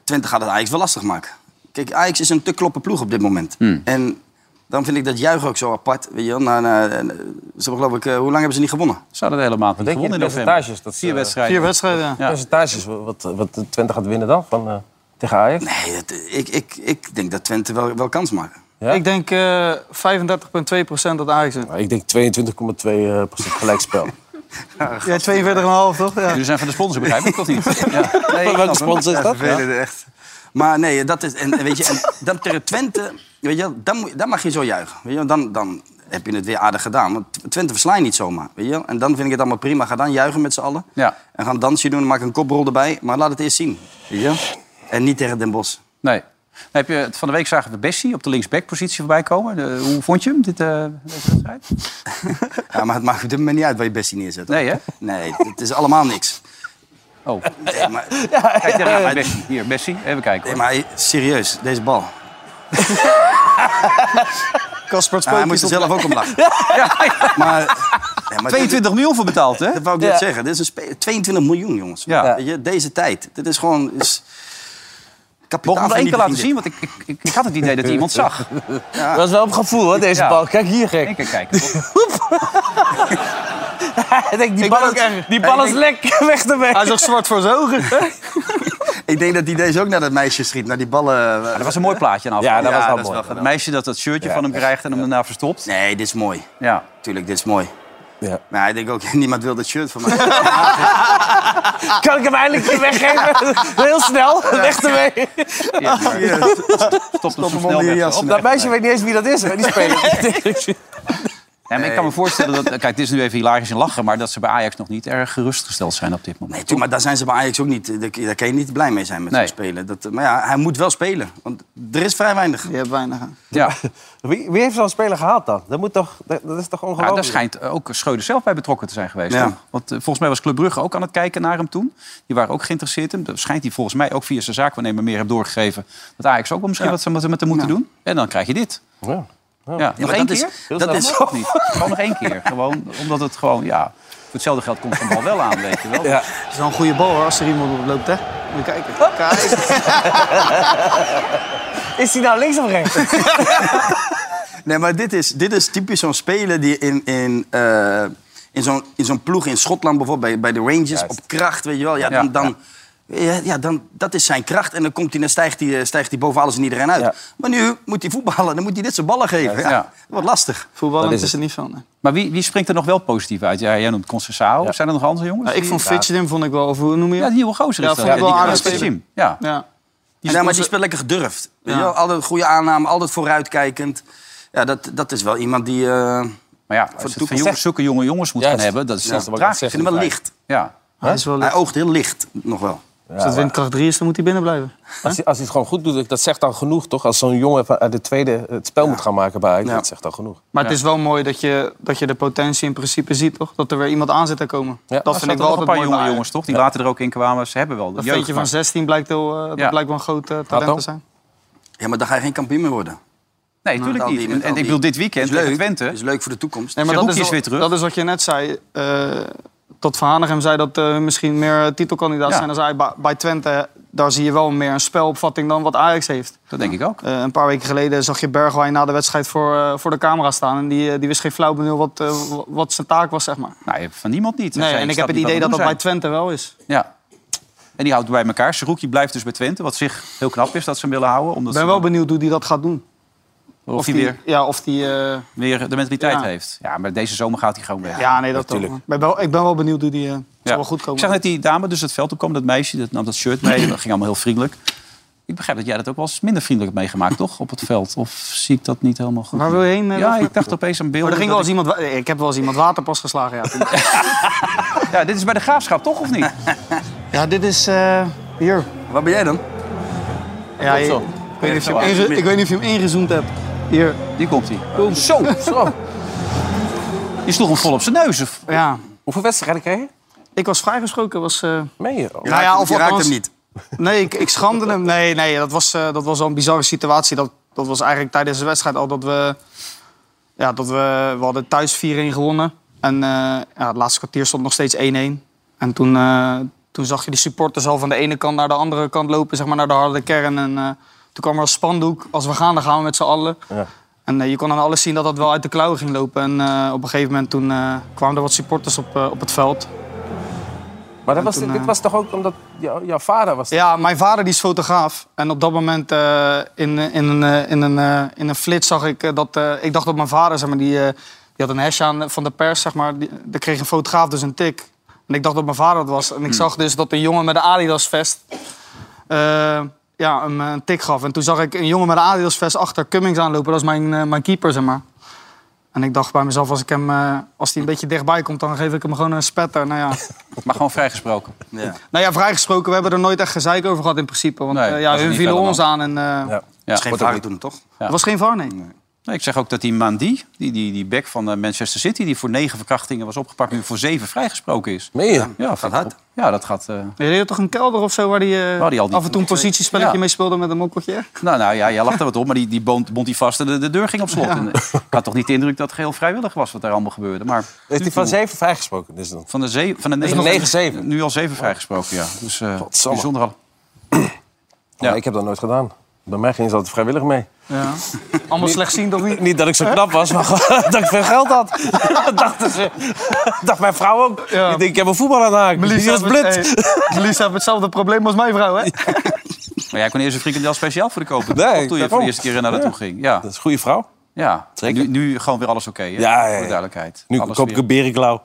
Twente gaat het Ajax wel lastig maken. Kijk, Ajax is een te kloppen ploeg op dit moment.
Hmm.
En dan vind ik dat juichen ook zo apart. Weet je wel? Na, na- na- ze hebben, geloof ik, eh, hoe lang hebben ze niet gewonnen?
Ze hadden de hele maand niet
denk je,
gewonnen in
de
november.
percentages, Eh, dat ze-
Vier wedstrijden.
Vier wedstrijden, ja.
Ja.
Percentages, wat, wat Twente gaat winnen dan van, eh, tegen Ajax?
Nee, dat- ik, ik, ik denk dat Twente wel, wel kans maakt.
Ja?
Ik denk eh 35,2 dat Ajax wint.
Nou, Ik denk 22,2% eh, procent gelijkspel.
Jij 42,5 toch? Ja.
Jullie zijn van de sponsor, begrijp ik of niet? Ja.
Welke
snap hem.
sponsor is
Ja,
dat?
vervelend, echt. Maar nee, dat is... En, en weet je, en dan tegen Twente, weet je, wel, dan, moet- dan mag je zo juichen. Weet je, wel. dan, dan heb je het weer aardig gedaan. Want Twente versla je niet zomaar, weet je. wel. En dan vind ik het allemaal prima. Ga dan juichen met z'n allen.
Ja.
En gaan dansje doen, dan maak ik een koprol erbij. Maar laat het eerst zien, weet je. wel. En niet tegen Den Bosch.
Nee. Dan heb je, van de week zagen we Bessie op de linksbackpositie voorbij komen. De- hoe vond je hem, dit, eh, deze wedstrijd?
Ja, maar het maakt op dit moment niet uit waar je bestie neerzet. hoor.
Nee, hè?
Nee, het is allemaal niks.
Oh,
Nee, maar,
kijk daar
ja.
Bessie. Hier, Bessie, even kijken.
nee,
hoor.
maar serieus, deze bal.
Kasper het
Ja, hij
Spook
moet
is
er
op-
zelf ook om lachen. Maar, nee, maar dit-
22 miljoen voor betaald, hè?
Dat wou ik net zeggen. Dit is een spe- 22 miljoen, jongens.
Ja.
Weet je, deze tijd. Dit is gewoon... Is
Mocht
kapitaal
ik hem één keer laten zien,
vernietiging
want ik, ik, ik, ik had het idee dat iemand zag.
Dat was wel op gevoel, hoor, deze
Ja.
bal. Kijk hier,
Eén
gek.
keer kijken.
Hij denkt, die
Ik
bal
ben
is,
ook erg.
die bal is lekker weg ermee.
Hij is ook zwart voor zijn ogen.
dit. Ik denk dat hij deze ook naar dat meisje schiet. Naar die ballen.
Dat was een mooi plaatje aan
Ja, dat was wel
is
mooi.
wel
Het
geweldig.
meisje dat dat shirtje van hem krijgt en hem daarna verstopt.
Nee, dit is mooi.
Ja.
Tuurlijk, dit is mooi.
Ja.
Maar ik denk ook, niemand wil dat shirt van mij.
Kan ik hem eindelijk weer weggeven? Heel snel, weg ermee.
Stop,
hem onder je jas.
Dat meisje weet niet eens wie dat is, hè, die speler.
Ja, maar ik kan me voorstellen dat... Kijk, het is nu even hilarisch in lachen... maar dat ze bij Ajax nog niet erg gerustgesteld zijn op dit moment.
Nee, tuurlijk, maar daar zijn ze bij Ajax ook niet. Daar daar kan je niet blij mee zijn met
Nee.
zo'n speler. Dat, maar ja, hij moet wel spelen. Want er is vrij weinig.
Je hebt weinig aan.
Ja.
Wie, wie heeft zo'n speler gehaald dan? Dat, moet toch, dat, dat is toch
Ja,
ongelooflijk?
daar schijnt eh, ook Schreuder zelf bij betrokken te zijn geweest.
Ja.
toch? Want eh, volgens mij was Club Brugge ook aan het kijken naar hem toen. Die waren ook geïnteresseerd in hem. Dat schijnt hij volgens mij ook via zijn zaakwaarnemer meer heeft doorgegeven. Dat Ajax ook wel misschien wat ze met met hem moeten doen. En dan krijg je dit.
Ja.
Ja,
maar
nog één
dat is-
keer?
Heel dat snel. is-
ook niet. Gewoon nog één keer. Gewoon omdat het gewoon, ja... Voor hetzelfde geld komt van bal wel aan, weet je wel.
Ja.
Het is wel een goede bal hoor, als er iemand op loopt, hè? Moet je kijken. Kijk.
Is hij nou links of rechts?
Nee, maar dit is, dit is typisch zo'n speler die in, in, eh, in zo'n in zo'n ploeg in Schotland bijvoorbeeld, bij, bij de Rangers, op kracht, weet je wel. Ja,
Ja,
dan, dan, ja. ja, dan, dat is zijn kracht. En dan, komt hij, dan stijgt, hij, eh, stijgt hij boven alles en iedereen uit.
Ja.
Maar nu moet hij voetballen, dan moet hij dit zijn ballen geven. Ja,
Ja.
Dat wordt lastig.
Voetballen
Dat
is,
is
er niet van. hè.
Maar wie, wie springt er nog wel positief uit? Ja, jij noemt Concessao. Zijn er nog andere jongens?
Nou, ik
die-
vond Fitchedin, vond ik wel, of hoe noem je
Ja, die
dat?
nieuwe gozer
Ja,
is dat.
vond ik
Ja,
wel
die
aardig
Chris
spelen.
Jim. Ja.
Ja.
Ja, maar die speelt lekker gedurfd. Weet je wel? Altijd goede aanname, altijd vooruitkijkend. Ja, dat, dat is wel iemand die... eh,
Maar ja, als
de
je het
toekomst
van jonge,
echt.
zulke jonge jongens moet
Juist.
gaan hebben... dat is
Ja,
ja,
dat wou ik
tragisch.
net
ik Nou, vind hem wel licht.
Ja.
Hij is wel
Hij
licht.
oogt heel licht, nog wel.
Als het windkracht 3 is, dan moet hij binnen blijven.
Als hij, als hij het gewoon goed doet, dat zegt dan genoeg, toch? Als zo'n jongen van- uit de tweede eh, het spel moet gaan maken bij Ajax,
Ja.
dat zegt dan genoeg.
Maar het is wel mooi dat je, dat je de potentie in principe ziet, toch? Dat er weer iemand aan zit te komen.
Ja.
dat vind ik wel
nog een
altijd
paar
mooi. bij
jonge
Ajax.
jongens, toch? Die later er ook in kwamen. Ze hebben wel de
Dat
jeugd.
ventje van 16 blijkt, heel, eh, dat
Ja.
blijkt wel een groot eh, talent
Tato?
te zijn.
Ja, maar dan ga je geen kampioen meer worden.
Nee, natuurlijk
al die-
niet.
met
En,
al
en ik
die-
bedoel, dit weekend
is
tegen
leuk.
Twente...
is leuk voor de toekomst.
Nee, maar
Zerouki
dat
is
is,
weer terug.
dat is wat je net zei. eh dat Van Hanegem zei dat eh misschien meer eh, titelkandidaat
Ja.
zijn dan zij. Bij- Bij Twente, eh, daar zie je wel meer een spelopvatting dan wat Ajax heeft.
Dat denk ik ook.
Eh, een paar weken geleden zag je Bergwijn na de wedstrijd voor, eh, voor de camera staan. En die, eh, die wist geen flauw benul wat, eh, wa- wat zijn taak was, zeg maar.
Nou, van niemand niet. Hij
Nee,
zei,
en ik
snap
heb het
niet
idee dat
wat
dat
we
bij
doen
Twente wel is.
zijn. Ja. En die houdt bij elkaar. Seroekje blijft dus bij Twente. Wat zich heel knap is dat ze hem willen houden. Omdat
Ik ben
ze
wel
dan-
benieuwd hoe die dat gaat doen.
of hij weer,
Ja, of die... eh,
weer de mentaliteit
Ja.
heeft. Ja, maar deze zomer gaat hij gewoon weg.
ja, nee, dat toch. Ik ben wel, ik ben wel benieuwd hoe die... eh zal wel goed
Ik
komen.
zag net die dame dus het veld opkomen, dat meisje, dat nam dat shirt mee. Dat ging allemaal heel vriendelijk. Ik begrijp dat jij dat ook wel eens minder vriendelijk hebt meegemaakt, toch? Op het veld. Of zie ik dat niet helemaal goed?
Waar wil je heen? eh,
Ja,
Wilfred?
ik dacht opeens aan
Maar
beelden.
er ging wel
dat
eens iemand, wa- eh, ik heb wel eens iemand waterpas geslagen. Ja, toen.
ik- Ja, dit is bij de graafschap, toch? Of niet?
ja dit is eh, hier.
Waar ben jij dan?
Ja, je-
zo.
ik, weet niet of je hem inge- ik weet niet of je hem ingezoomd hebt. Hier.
Die komt hij. Zo, zo. Die sloeg hem vol op zijn neus. Of...
Ja.
Hoeveel wedstrijden kreeg je?
Ik was vrijgesproken. Was, eh,
Meen je? Oh.
nou ja, of
je raakt
althans-
hem niet.
Nee, ik, ik schande hem. Nee, nee dat, was, eh, dat was al een bizarre situatie. Dat, dat was eigenlijk tijdens de wedstrijd al dat we... Ja, dat we, we hadden thuis 4-1 gewonnen. En eh, ja, het laatste kwartier stond nog steeds 1-1. En toen, eh, toen zag je de supporters al van de ene kant naar de andere kant lopen. Zeg maar naar de harde kern. En eh, toen kwam er een spandoek. Als we gaan, dan gaan we met z'n allen.
Ja.
En eh, je kon aan alles zien dat dat wel uit de klauwen ging lopen. En eh, op een gegeven moment toen, eh, kwamen er wat supporters op, eh, op het veld.
Maar dat was,
toen,
dit
eh,
was toch ook omdat jou- jouw vader was...
Ja, mijn vader die is fotograaf. En op dat moment eh, in, in, een, eh, in, een, eh, in een flits zag ik eh, dat... eh, ik dacht dat mijn vader, zeg maar, die, eh, die had een hesje aan eh, van de pers, zeg maar. Die, daar kreeg een fotograaf dus een tik. En ik dacht dat mijn vader dat was. En ik zag dus dat een jongen met een Adidas vest... eh, ja, hem eh, een tik gaf. En toen zag ik een jongen met een Adidas vest achter Cummings aanlopen. Dat is mijn, eh, mijn keeper, zeg maar. En ik dacht bij mezelf, als ik hem, eh, als hij een beetje dichtbij komt, dan geef ik hem gewoon een spetter. Nou ja,
Maar gewoon vrijgesproken.
Ja.
nou ja, vrijgesproken, we hebben er nooit echt gezeik over gehad in principe. Want
Nee,
eh,
was
ja,
er
hun
niet
vielen
verder
ons aan en eh,
Ja.
Ja.
Dat is geen vraag doen, toch?
het was geen VAR, nee.
Nee, ik zeg ook dat die Mandy, die, die, die back van eh, Manchester City... die voor negen verkrachtingen was opgepakt... nu voor zeven vrijgesproken is.
Meen je?
Ja, gaat hard. Ja, dat gaat... eh,
Je deed toch een kelder of zo waar hij
Waar die al die-
af en toe een positiespelletje
Ja.
mee speelde met een mokkeltje?
Nou, nou ja, jij lacht er wat op, maar die, die bond, bond die vast en de, de deur ging op slot. En, eh, ik had toch niet de indruk dat het geheel vrijwillig was wat daar allemaal gebeurde. Maar
Heeft hij van zeven vrijgesproken dus dan?
van de, zeven, van de
is
negen-
nog negen zeven.
Nu al zeven vrijgesproken, ja. Dus eh,
Godsamme.
bijzonder al. Ja.
Ja. Ik heb dat nooit gedaan. Bij mij ging ze altijd vrijwillig mee.
Ja. Allemaal slecht zien toch niet?
Niet dat ik zo knap was, maar gewoon dat ik veel geld had. Dat dachten ze. Dacht mijn vrouw ook.
Ja.
Ik denk, ik heb een voetbal aan de haak. dus Die was blind.
Melissa heeft hetzelfde probleem als mijn vrouw, hè?
Maar jij kon eerst een frikandel speciaal voor de kopen.
Nee,
toch? toen je voor de
daarom.
eerste keer naar naartoe ging. Ja,
Dat is een goede vrouw.
ja.
Zeker.
Nu, nu gewoon weer alles oké, hè?
Ja, ja, ja.
Voor de duidelijkheid.
Nu
alles
koop ik
weer.
een berenklauw.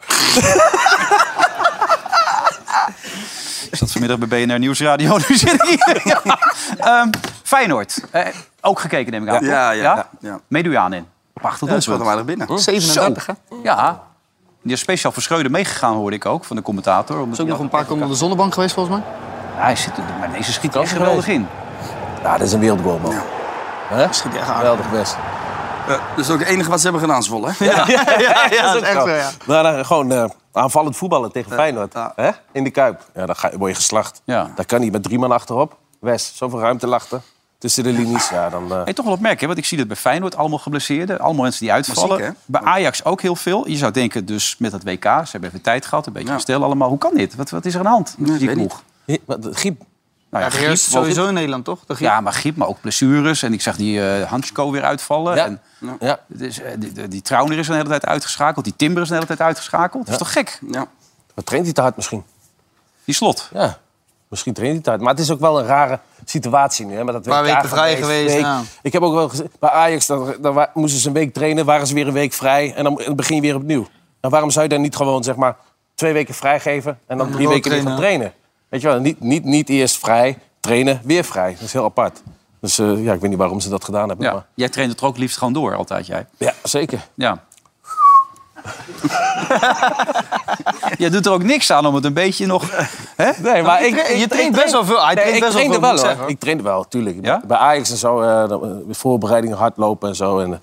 Ik zat vanmiddag bij BNR Nieuwsradio. Nu zit ik hier. Ja. Ehm, Feyenoord. Eh, ook gekeken, neem ik aan.
Ja, ja, ja, ja.
Meduaan in. Prachtig
Dat speelt
doelpunt.
hem aardig binnen.
37, hè?
Ja. Die is speciaal voor Schreuder meegegaan, hoorde ik ook, van de commentator. Omdat
Is ook
hij
nog een paar
altijd-
keer onder de zonnebank geweest, volgens mij.
Hij zit er, maar deze schiet er echt geweldig in.
Ja, dat is een wereldgoal, man. Hè? Geweldig best.
Eh, dat is ook het enige wat ze hebben gedaan, Zwolle. hè?
Ja, ja, dat is echt
zo.
zo, ja.
Nou, dan gewoon eh, aanvallend voetballen tegen Feyenoord. Hè? In de Kuip. Ja, dan ga, word je geslacht.
Ja.
Dat kan niet met drie man achterop. Wes, zoveel ruimte lachten. Tussen de linies. Ja, dan, eh,
Hey, toch wel opmerkelijk, hè, want ik zie dat bij Feyenoord allemaal geblesseerden. Allemaal mensen die uitvallen.
Ziek, hè?
bij Ajax ook heel veel. Je zou denken, dus met dat WK, ze hebben even tijd gehad, een beetje
Ja.
gestel allemaal. Hoe kan dit? Wat, wat is er aan de hand? met die
weet
ploeg?
hi- wat- Giep.
Nou ja,
Ja,
griep,
sowieso in Nederland, toch? De Griep.
Ja, maar griep, maar ook blessures. En ik zag die eh Hansko weer uitvallen.
Ja.
En,
Ja.
het is, eh, die, die- die Trauner is een hele tijd uitgeschakeld. Die Timber is een hele tijd uitgeschakeld. Dat is toch gek?
Ja.
Wat traint hij te hard misschien?
Die slot.
Ja, misschien traint hij tijd. Maar het is ook wel een rare situatie nu. Hè, met dat
Paar
WK
weken vrij geweest,
week.
ja.
Ik heb ook wel gezien, bij Ajax dan, dan wa- moesten ze een week trainen, waren ze weer een week vrij en dan dan begin je weer opnieuw. En waarom zou je dan niet gewoon zeg maar twee weken vrijgeven en dan drie
wel
weken weer gaan trainen? Weet je wel, niet, niet, niet eerst vrij, trainen, weer vrij. Dat is heel apart. Dus eh, ja, ik weet niet waarom ze dat gedaan hebben.
Ja.
Maar,
Jij traint het er ook liefst gewoon door, altijd jij.
ja, zeker.
Ja. Jij doet er ook niks aan om het een beetje nog... Hè?
Nee, Nou, maar
je traint- je traint best wel veel. Hij traint
ik
best wel
trainde
veel, moet ik
hoor.
zeggen.
Ik trainde wel, tuurlijk.
Ja?
Bij Ajax en zo, eh, dan, eh, voorbereidingen hardlopen en zo. En, eh,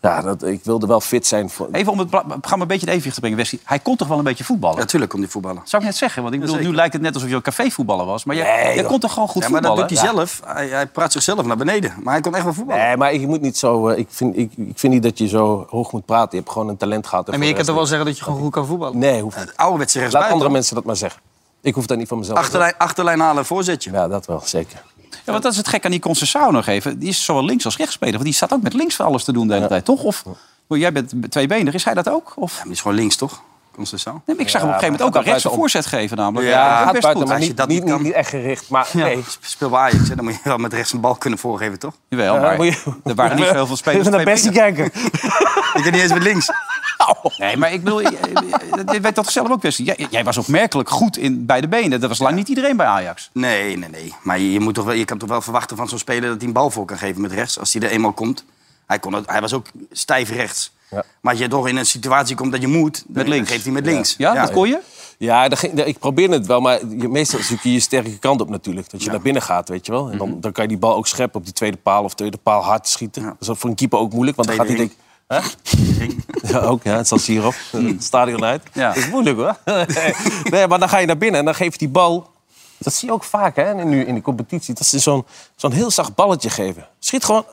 ja, dat, ik wilde wel fit zijn. Voor,
Even om het pla- programma een beetje in evenwicht te brengen, Westie. Hij kon toch wel een beetje voetballen? Dat
Natuurlijk komt die voetballen.
zou ik net zeggen. Want ik bedoel, nu lijkt het net alsof je een cafévoetballer was. Maar jij,
Nee,
jij
joh.
kon toch gewoon goed
Ja, maar dat
voetballen?
doet hij zelf. Hij, hij praat zichzelf naar beneden. Maar hij kon echt wel voetballen.
Nee, maar je moet niet zo... eh, ik, vind, ik, ik vind niet dat je zo hoog moet praten. Je hebt gewoon een talent gehad. en
En maar je
voor
kan
de
toch wel zeggen
rest
dat je gewoon goed kan voetballen?
niet. Nee, hoeft niet.
Ouderwetse
Laat
rechtsbuiten.
andere mensen dat maar zeggen. Ik hoef dat niet van mezelf te
Achterlijn, achterlijn halen, voorzetje.
zeggen. Ja, dat wel, zeker.
Ja, want dat is het gek aan die Concessao nog even. Die is zowel links als rechtsspeler. Want die staat ook met links voor alles te doen de hele tijd, toch? Of oh, jij bent tweebenig, is hij dat ook? Of,
Ja, maar die is gewoon links, toch? Concessao.
nee, maar ik zag hem op een gegeven
maar
moment ook
hij
aan rechts een
gaat buiten
voorzet geven namelijk. dat
Ja, hij
is
Gaat
best
buiten,
goed.
maar
als je
niet,
dat
niet,
niet kan.
niet, echt gericht. Maar nee,
Speel bij Ajax, hè. dan moet je wel met rechts een bal kunnen voorgeven, toch?
Jawel,
Ja,
maar
Eh, moet je-
er waren niet veel van spelers
even naar Bessie
tweebenig.
kijken.
Ik kan niet eens met links.
Nee, maar ik bedoel, je, je- je weet dat zelf ook best. Jij, jij was opmerkelijk goed in, bij de benen. Dat was lang niet iedereen bij Ajax.
Nee, nee, nee. Maar je, je moet toch wel, je kan toch wel verwachten van zo'n speler dat hij een bal voor kan geven met rechts. Als hij er eenmaal komt. Hij, kon het, hij was ook stijf rechts. Maar als je toch in een situatie komt dat je moet, dan
links.
geeft hij met links.
Ja, dat kon je?
Ja, daar ging- daar- ik probeerde het wel, maar je, meestal zoek je je sterke kant op natuurlijk. Dat je naar binnen gaat, weet je wel. En
Mhm.
dan, dan kan je die bal ook scheppen op die tweede paal of tweede paal hard schieten. Dat is ook voor een keeper ook moeilijk, want dan gaat hij
Tweede
denk, Ja, ook, ja, het zat hierop.
Hmm.
Het stadion uit.
Ja.
Dat is moeilijk hoor. nee, maar dan ga je naar binnen en dan geef je die bal. Dat zie je ook vaak hè, nu in de competitie. Dat ze zo'n zo'n heel zacht balletje geven. Schiet gewoon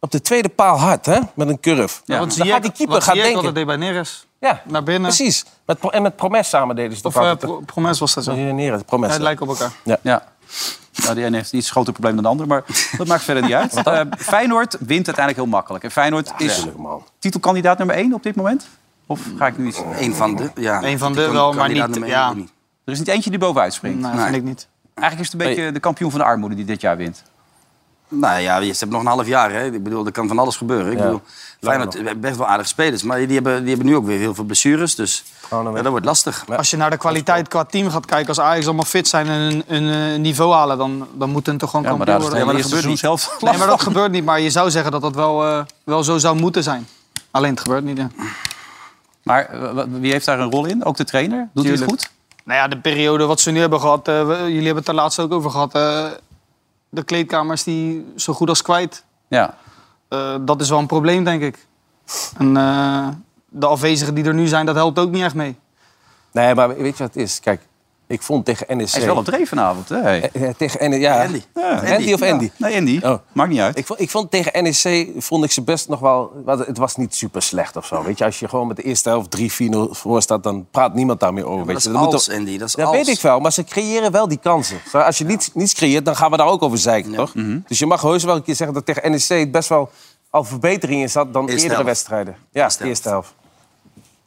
op de tweede paal hard hè, met een curve.
Ja,
dan gaat die keeper gaan
Wat
denken.
dat deed bij Neres.
Ja,
Naar binnen.
precies. Met, Pro- en met Promes samen deden ze het
Of
ook
eh,
altijd.
Pro- Promes was dat zo. Ja,
Ja, Neres, Promes.
het lijkt op elkaar.
Ja. Nou, de ene heeft een iets groter probleem dan de ander, maar dat maakt verder niet uit. Eh, Feyenoord wint uiteindelijk heel makkelijk. En Feyenoord is
Tuurlijk, man.
titelkandidaat nummer 1 op dit moment? Of ga ik nu iets...
Eén van de. Ja,
Eén van de
kan-
wel, maar
kandidaat
niet-
nummer
ja.
één, niet.
Er is niet eentje die bovenuit springt.
Nee, vind ik niet.
Eigenlijk is het een beetje de kampioen van de armoede die dit jaar wint.
Nou ja, je hebt nog een half jaar. Hè. Ik bedoel, er kan van alles gebeuren. Ik bedoel, Feyenoord heeft best wel aardige spelers. Maar die hebben, die hebben nu ook weer heel veel blessures. Dus
Gewoon een
ja, dat wordt lastig.
Als je naar de kwaliteit qua team gaat kijken, als Ajax allemaal fit zijn en een, een, eh, niveau halen, dan, dan moet het toch gewoon
Ja, maar
kampioen
daar is het
worden.
hele
Ja, maar
eerste
dat
seizoen
gebeurt
zelf
niet. Nee, maar dat gebeurt niet. Maar je zou zeggen dat dat wel, eh, wel zo zou moeten zijn. Alleen het gebeurt niet. Ja.
Maar eh, wa- wie heeft daar een rol in? Ook de trainer? Doet hij het
Tuurlijk.
goed?
Nou ja, de periode wat ze nu hebben gehad, eh, we- jullie hebben het daar laatst ook over gehad. eh, de kleedkamers die zo goed als kwijt.
Ja.
Eh, dat is wel een probleem, denk ik. En eh, de afwezigen die er nu zijn, dat helpt ook niet echt mee.
Nee, maar weet je wat het is? Kijk, ik vond tegen NEC...
Hij is wel op dreef vanavond, hè? Hey.
Eh, eh, tegen NEC, ja.
Andy.
Ja,
Andy, of Andy?
Ja, Nee, Andy.
Oh.
Maakt niet uit.
Ik vond, ik vond tegen NEC vond ik ze best nog wel. want Het was niet super slecht of zo. Weet je, als je gewoon met de eerste helft 3-4-0 voor staat, dan praat niemand daar meer over.
Maar
weet
dat
je.
is
Dat moet
als,
toch-
Andy. Dat is
dat
als.
weet ik wel, maar ze creëren wel die kansen. Zo, Als je niets, niets creëert, dan gaan we daar ook over zeiken, toch?
Mhm.
Dus je mag heus wel een keer zeggen dat tegen NEC het best wel al verbetering in zat dan eerdere
helft.
wedstrijden. Ja,
Eerste
de eerste helft.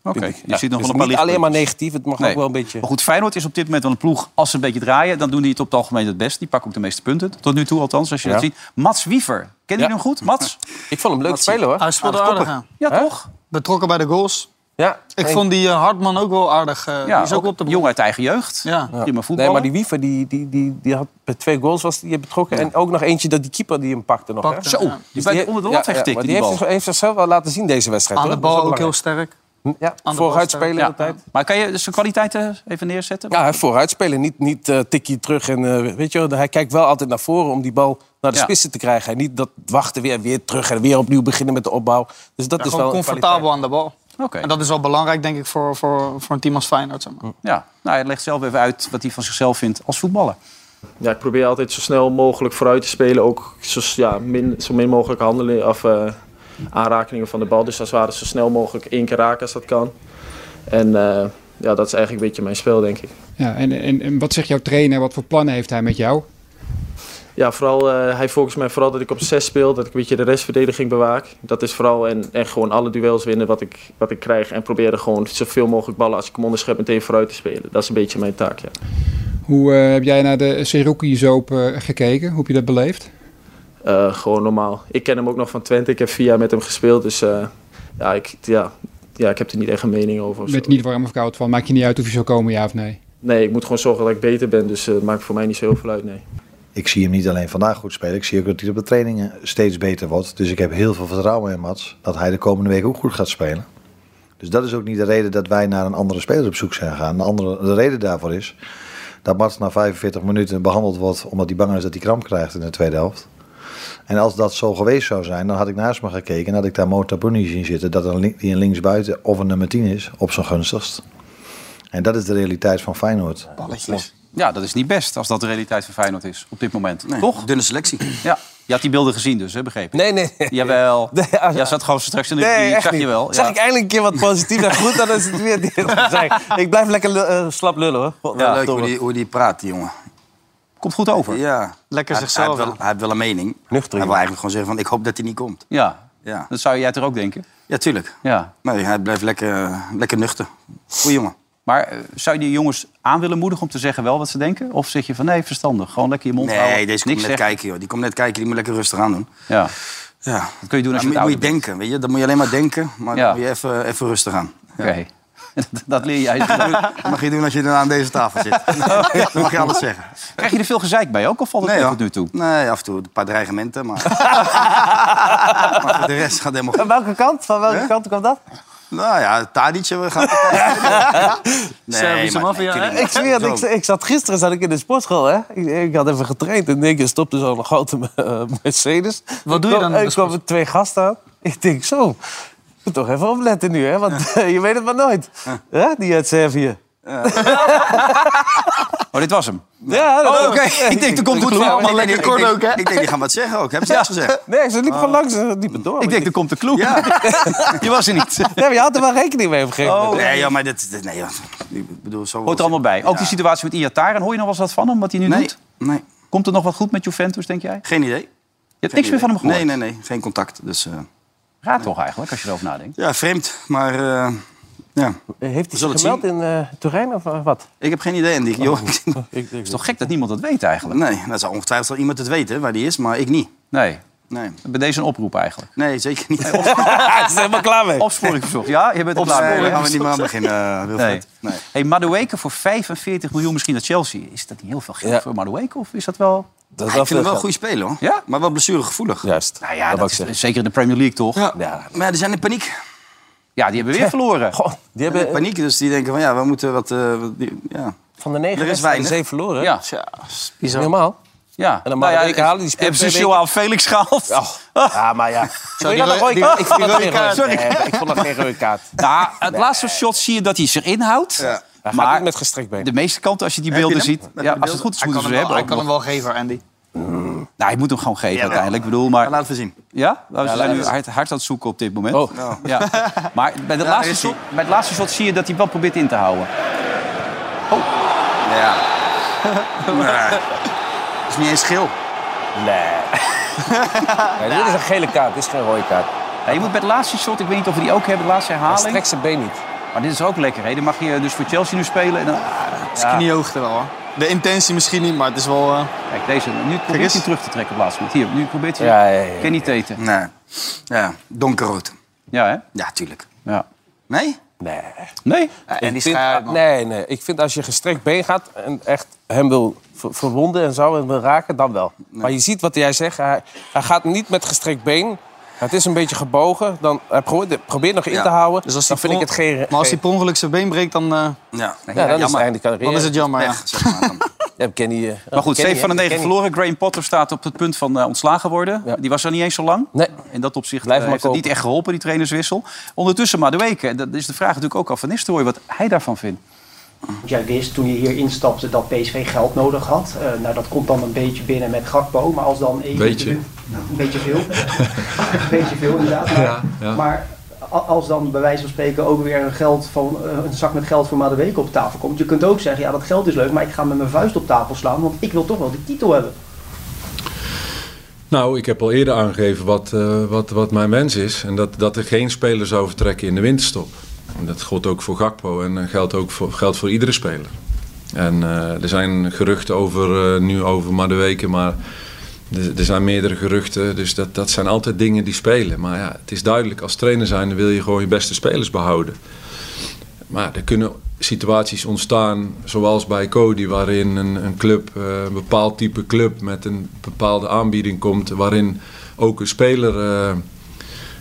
Oké, je
Ja,
ziet nog
dus
wel een paar
niet alleen
lichtpuntjes.
maar negatief, het mag
Nee.
ook wel een beetje...
Maar goed, Feyenoord is op dit moment wel een ploeg. Als ze een beetje draaien, dan doen die het op het algemeen het best. Die pakken ook de meeste punten. Tot nu toe althans, als je
Ja.
dat ziet. Mats Wiever. Kennen jullie hem goed? Mats?
Ik vond hem leuk spelen, hoor.
Hij speelde aardig aan.
Ja,
Hè?
toch?
Betrokken bij de goals.
Ja,
Ik
en-
vond die eh, Hartman ook wel aardig. eh,
Ja,
die is ook, op de
jongen uit eigen jeugd.
Ja.
Prima voetbal.
Nee, maar die Wiever, die, die, die, die had bij twee goals was die betrokken. En ook nog eentje dat die keeper die hem pakte nog. hè? Dus
Pakte.
Zo,
Ja.
die bij onder de lat
ja,
heeft
ja,
getikt,
maar
die, bal.
heeft, zich- heeft zichzelf wel laten zien deze wedstrijd.
Aan de
hoor. Dat is
bal ook heel
belangrijk.
sterk.
Ja,
bal
vooruit
sterk.
spelen
Ja.
altijd.
Maar kan je dus zijn kwaliteiten even neerzetten?
Ja, hij vooruit spelen, niet, niet eh, tikkie terug. En, eh, weet je, wel, hij kijkt wel altijd naar voren om die bal naar de
Ja.
spitsen te krijgen. En niet dat wachten weer, weer terug en weer opnieuw beginnen met de opbouw. Dus dat
Ja,
is wel
gewoon
een
comfortabel aan de bal.
Oké.
En dat is wel belangrijk, denk ik, voor, voor, voor een team als Feyenoord. Zeg maar.
Ja. Nou, hij legt zelf even uit wat hij van zichzelf vindt als voetballer.
Ja, ik probeer altijd zo snel mogelijk vooruit te spelen. Ook zo, s- ja, min, zo min mogelijk handelen of eh, aanrakingen van de bal. Dus als het ware zo snel mogelijk één keer raken als dat kan. En eh, ja, dat is eigenlijk een beetje mijn spel, denk ik.
Ja, en, en, en wat zegt jouw trainer? Wat voor plannen heeft hij met jou?
Ja, vooral, eh, hij focust mij vooral dat ik op 6 speel, dat ik een beetje de restverdediging bewaak. Dat is vooral en, en gewoon alle duels winnen wat ik, wat ik krijg. En proberen gewoon zoveel mogelijk ballen als ik hem onderschep meteen vooruit te spelen. Dat is een beetje mijn taak, ja.
Hoe eh, heb jij naar de Seruki Zoop eh, gekeken? Hoe heb je dat beleefd?
Eh, gewoon normaal. Ik ken hem ook nog van Twente. Ik heb vier jaar met hem gespeeld. Dus eh, ja, ik, ja, ja, ik heb er niet echt een mening over. of
Met
zo.
niet warm of koud van. Maakt je niet uit of je zou komen, ja of nee?
Nee, ik moet gewoon zorgen dat ik beter ben. Dus eh, het maakt voor mij niet zo heel veel uit, nee.
Ik zie hem niet alleen vandaag goed spelen. Ik zie ook dat hij op de trainingen steeds beter wordt. Dus ik heb heel veel vertrouwen in Mats dat hij de komende week ook goed gaat spelen. Dus dat is ook niet de reden dat wij naar een andere speler op zoek zijn gegaan. De, andere, de reden daarvoor is dat Mats na 45 minuten behandeld wordt omdat hij bang is dat hij kramp krijgt in de tweede helft. En als dat zo geweest zou zijn, dan had ik naast me gekeken en had ik daar Mota Bruni zien zitten. Dat een, link- die een linksbuiten of een nummer 10 is, op zijn gunstigst. En dat is de realiteit van Feyenoord.
Ja, dat is niet best als dat de realiteit van Feyenoord is op dit moment.
Nee,
Toch?
Dunne selectie.
Ja. Je had die beelden gezien dus, hè, begreep ik.
Nee, nee. nee.
Jawel.
Nee,
ja,
als-
zat gewoon straks in de
Nee,
die
echt
zag
niet.
je wel.
Zag
ja.
ik eindelijk een keer wat positief en goed, dan is het weer dit gezegd. Ik blijf lekker lu- eh, slap lullen, hoor. God,
Ja, leuk
verdomme.
hoe die, hoe die praat, die jongen.
Komt goed over. Ja.
Ja.
Lekker
Hij-
zichzelf,
Hij, heeft wel-
hè?
hij heeft wel een mening.
Nuchter,
Hij
jongen.
wil eigenlijk gewoon zeggen van, ik hoop dat hij niet komt. Ja,
Dat zou jij toch ook denken?
ja tuurlijk.
Ja.
Nee, hij blijft lekker, lekker nuchter. Goeie jongen.
Maar eh, zou je die jongens aan willen moedigen om te zeggen wel wat ze denken? Of zeg je van nee, verstandig. Gewoon lekker je mond houden.
Nee, deze komt
niks
net
zeggen.
kijken, joh. Die komt net kijken, die moet lekker rustig aan doen.
Ja.
Ja.
Dat kun je doen als
Dan
je
moet,
het
moet
ouder
je denken, weet je. Dan moet je alleen maar denken, maar
Ja.
dan moet je even, even rustig aan.
bent. Oké. dat, dat leer jij. zelf.
Dat mag je doen als je dan aan deze tafel zit. Dan mag je alles zeggen.
Krijg je er veel gezeik bij ook? Of valt het
Nee,
nee,
hoor. Nou,
tot nu toe?
Nee, af en toe een paar dreigementen, maar... maar voor de rest gaat helemaal goed.
Van welke kant? Van welke
Hè?
kant kwam dat?
Nou ja, Tadic, we gaan... nee,
Servische
maar-
maffia, hè?
natuurlijk
Ik
niet.
zweer, het,
Zo.
ik, ik zat gisteren zat ik in de sportschool, hè? Ik, ik had even getraind en in één keer stopte zo'n grote eh, Mercedes.
Wat doe je
Ik kwam-
dan in de
Ik kwam met twee gasten aan. Ik denk zo. Moet toch even opletten nu, hè? Want je weet het maar nooit. Hè? Die uit Servië.
Oh, dit was hem.
Ja, dat
Oh,
was-
oké. Ik denk, er komt een kloek.
allemaal lekker kort
ik, denk-
ook, hè?
Ik denk, die gaan wat zeggen ook. Hebben ze niks gezegd?
Nee, ze liepen gewoon langs, ze liepen door.
Ik denk, er komt de kloek. je was er niet.
Ja, maar je had er wel rekening mee op een gegeven moment.
Nee, joh, maar dit... dit- nee, joh. Ik bedoel, zo...
Oh, Hoort er allemaal bij. Ook die situatie met Iataren. Hoor je nog wel eens wat van hem, wat hij nu
Nee,
doet?
Nee.
Komt er nog wat goed met Juventus, denk jij?
Geen idee.
Je hebt niks meer van hem gehoord?
Nee, nee, nee. Geen contact. Dus, eh,
Raar toch eigenlijk, als je erover nadenkt.
ja, vreemd. Maar eh, ja,
Eh, Heeft
we
hij
zullen
zich
het zien.
gemeld in eh Turijn of eh, wat?
Ik heb geen idee. En die, joh,
Het
is toch gek dat niemand dat weet eigenlijk?
Nee, dat zou ongetwijfeld wel iemand het weten waar die is, maar ik niet.
Nee.
Nee,
Bij deze een oproep eigenlijk.
nee zeker niet.
Hij is er helemaal klaar mee.
Opsporing verzocht. Ja, je bent er klaar
Opsporing
mee.
Nee, daar gaan we niet meer aan beginnen, eh, Wilfred.
Nee. Hey, Madueke voor 45 miljoen misschien naar Chelsea. Is dat niet heel veel geld voor Madueke? Of is dat wel...
Dat
Ah, ik vind hem wel een goede speler, hoor.
Ja?
maar wel blessuregevoelig.
Juist.
Nou ja, dat is- zeker in de Premier League toch? Ja,
Ja.
Maar ja, die zijn in paniek.
die hebben weer verloren.
Die
In
hebben
paniek, dus die denken van ja, we moeten wat... eh, wat- die- ja.
eh, van de negen
Er is
wedstrijden
weinig.
zeven verloren.
Ja.
Is normaal.
Ja.
En dan
Nou
maar
ja,
een week halen, die speelt
Hebben ze
twee weken.
Joao Felix gehaald?
Ja, maar ja. Vond Ah. je dat een rode kaart? Ik vond dat geen rode- nee, ik vond dat geen rode kaart.
Nou, het laatste shot zie je dat hij zich inhoudt.
Hij gaat
Maar
niet met gestrekt been.
de meeste kanten, als je die
Heb je
beelden
hem?
ziet...
Met de
Ja, als het
beelden?
goed is,
Hij
moeten
kan
ze
hem wel-
hebben.
Hij
ook
kan hem
nog.
wel geven, Andy.
Nou, hij moet hem gewoon geven
Ja,
uiteindelijk. Ik bedoel, maar...
Laten we zien.
Ja? Nou, ze
Ja,
zijn
laten
nu
we-
hard, hard aan het zoeken op dit moment.
Oh.
Ja. Maar bij, de laatste
is
shot, bij het laatste shot zie je dat hij wel probeert in te houden.
Ja. Maar, dat is niet eens schil.
Nee. Nee, Dit is een gele kaart, dit is geen rode kaart.
Ja, je moet bij het laatste shot, ik weet niet of we die ook hebben, de laatste
Hij
herhaling.
strekt zijn been niet.
Maar dit is ook lekker, hè? Dan mag je dus voor Chelsea nu spelen. En dan,
Het is kniehoogte wel, hoor. De intentie misschien niet, maar het is wel... eh,
kijk, deze. Nu probeert
eens.
hij terug te trekken op het laatste moment. Hier, nu probeert hij...
Ja, ja, ja, ja.
Kan niet eten.
Nee. Ja, donkerrood.
Ja, hè?
Ja, tuurlijk.
Ja.
Nee?
Nee.
Nee?
en die
Ik vind-
schaar, man.
nee, nee. Ik vind als je gestrekt been gaat en echt hem wil ver- verwonden en zo en wil raken, dan wel. Maar je ziet wat jij zegt. Hij, hij gaat niet met gestrekt been. Het is een beetje gebogen. Dan, hij probeert, probeert nog in
Ja.
te houden.
Dus als
dan
die
vind ik het
per
geen...
Maar als hij per ongeluk zijn been breekt, dan, eh,
Ja.
geen- ja, dan is het einde carrière.
dan is het jammer. Ja.
Echt, zeg maar. dan.
Ja, Kenny, eh,
Maar goed,
Kenny,
7 van de 9
hè? Kenny.
verloren. Graham Potter staat op het punt van eh, ontslagen worden.
Ja.
Die was er niet eens zo lang.
Nee.
In dat opzicht
Blijf
eh,
maar
heeft het
kopen.
niet echt geholpen, die trainerswissel. Ondertussen maar de weken. Dat is de vraag natuurlijk ook al van Nistelrooy, wat hij daarvan vindt.
Want jij wist toen je hier instapte dat PSV geld nodig had. Eh, nou, dat komt dan een beetje binnen met Gakpo, maar als dan even... Nou,
Beetje.
Een beetje veel. een beetje veel, inderdaad. Maar,
Ja, ja.
maar a- als dan bij wijze van spreken ook weer een, geld van, eh, een zak met geld voor Madueke op tafel komt. Je kunt ook zeggen, ja, dat geld is leuk, maar ik ga met mijn vuist op tafel slaan, want ik wil toch wel die titel hebben.
Nou, ik heb al eerder aangegeven wat, eh, wat, wat mijn wens is. En dat, dat er geen speler zou vertrekken in de winterstop. En dat geldt ook voor Gakpo en eh, geldt ook voor, geldt voor iedere speler. En eh, er zijn geruchten over, eh, nu over maar de weken, maar er, er zijn meerdere geruchten. Dus dat, dat zijn altijd dingen die spelen. Maar ja, het is duidelijk, als trainer zijn wil je gewoon je beste spelers behouden. Maar er kunnen situaties ontstaan, zoals bij Cody, waarin een, een club, eh, een bepaald type club met een bepaalde aanbieding komt, waarin ook een speler eh,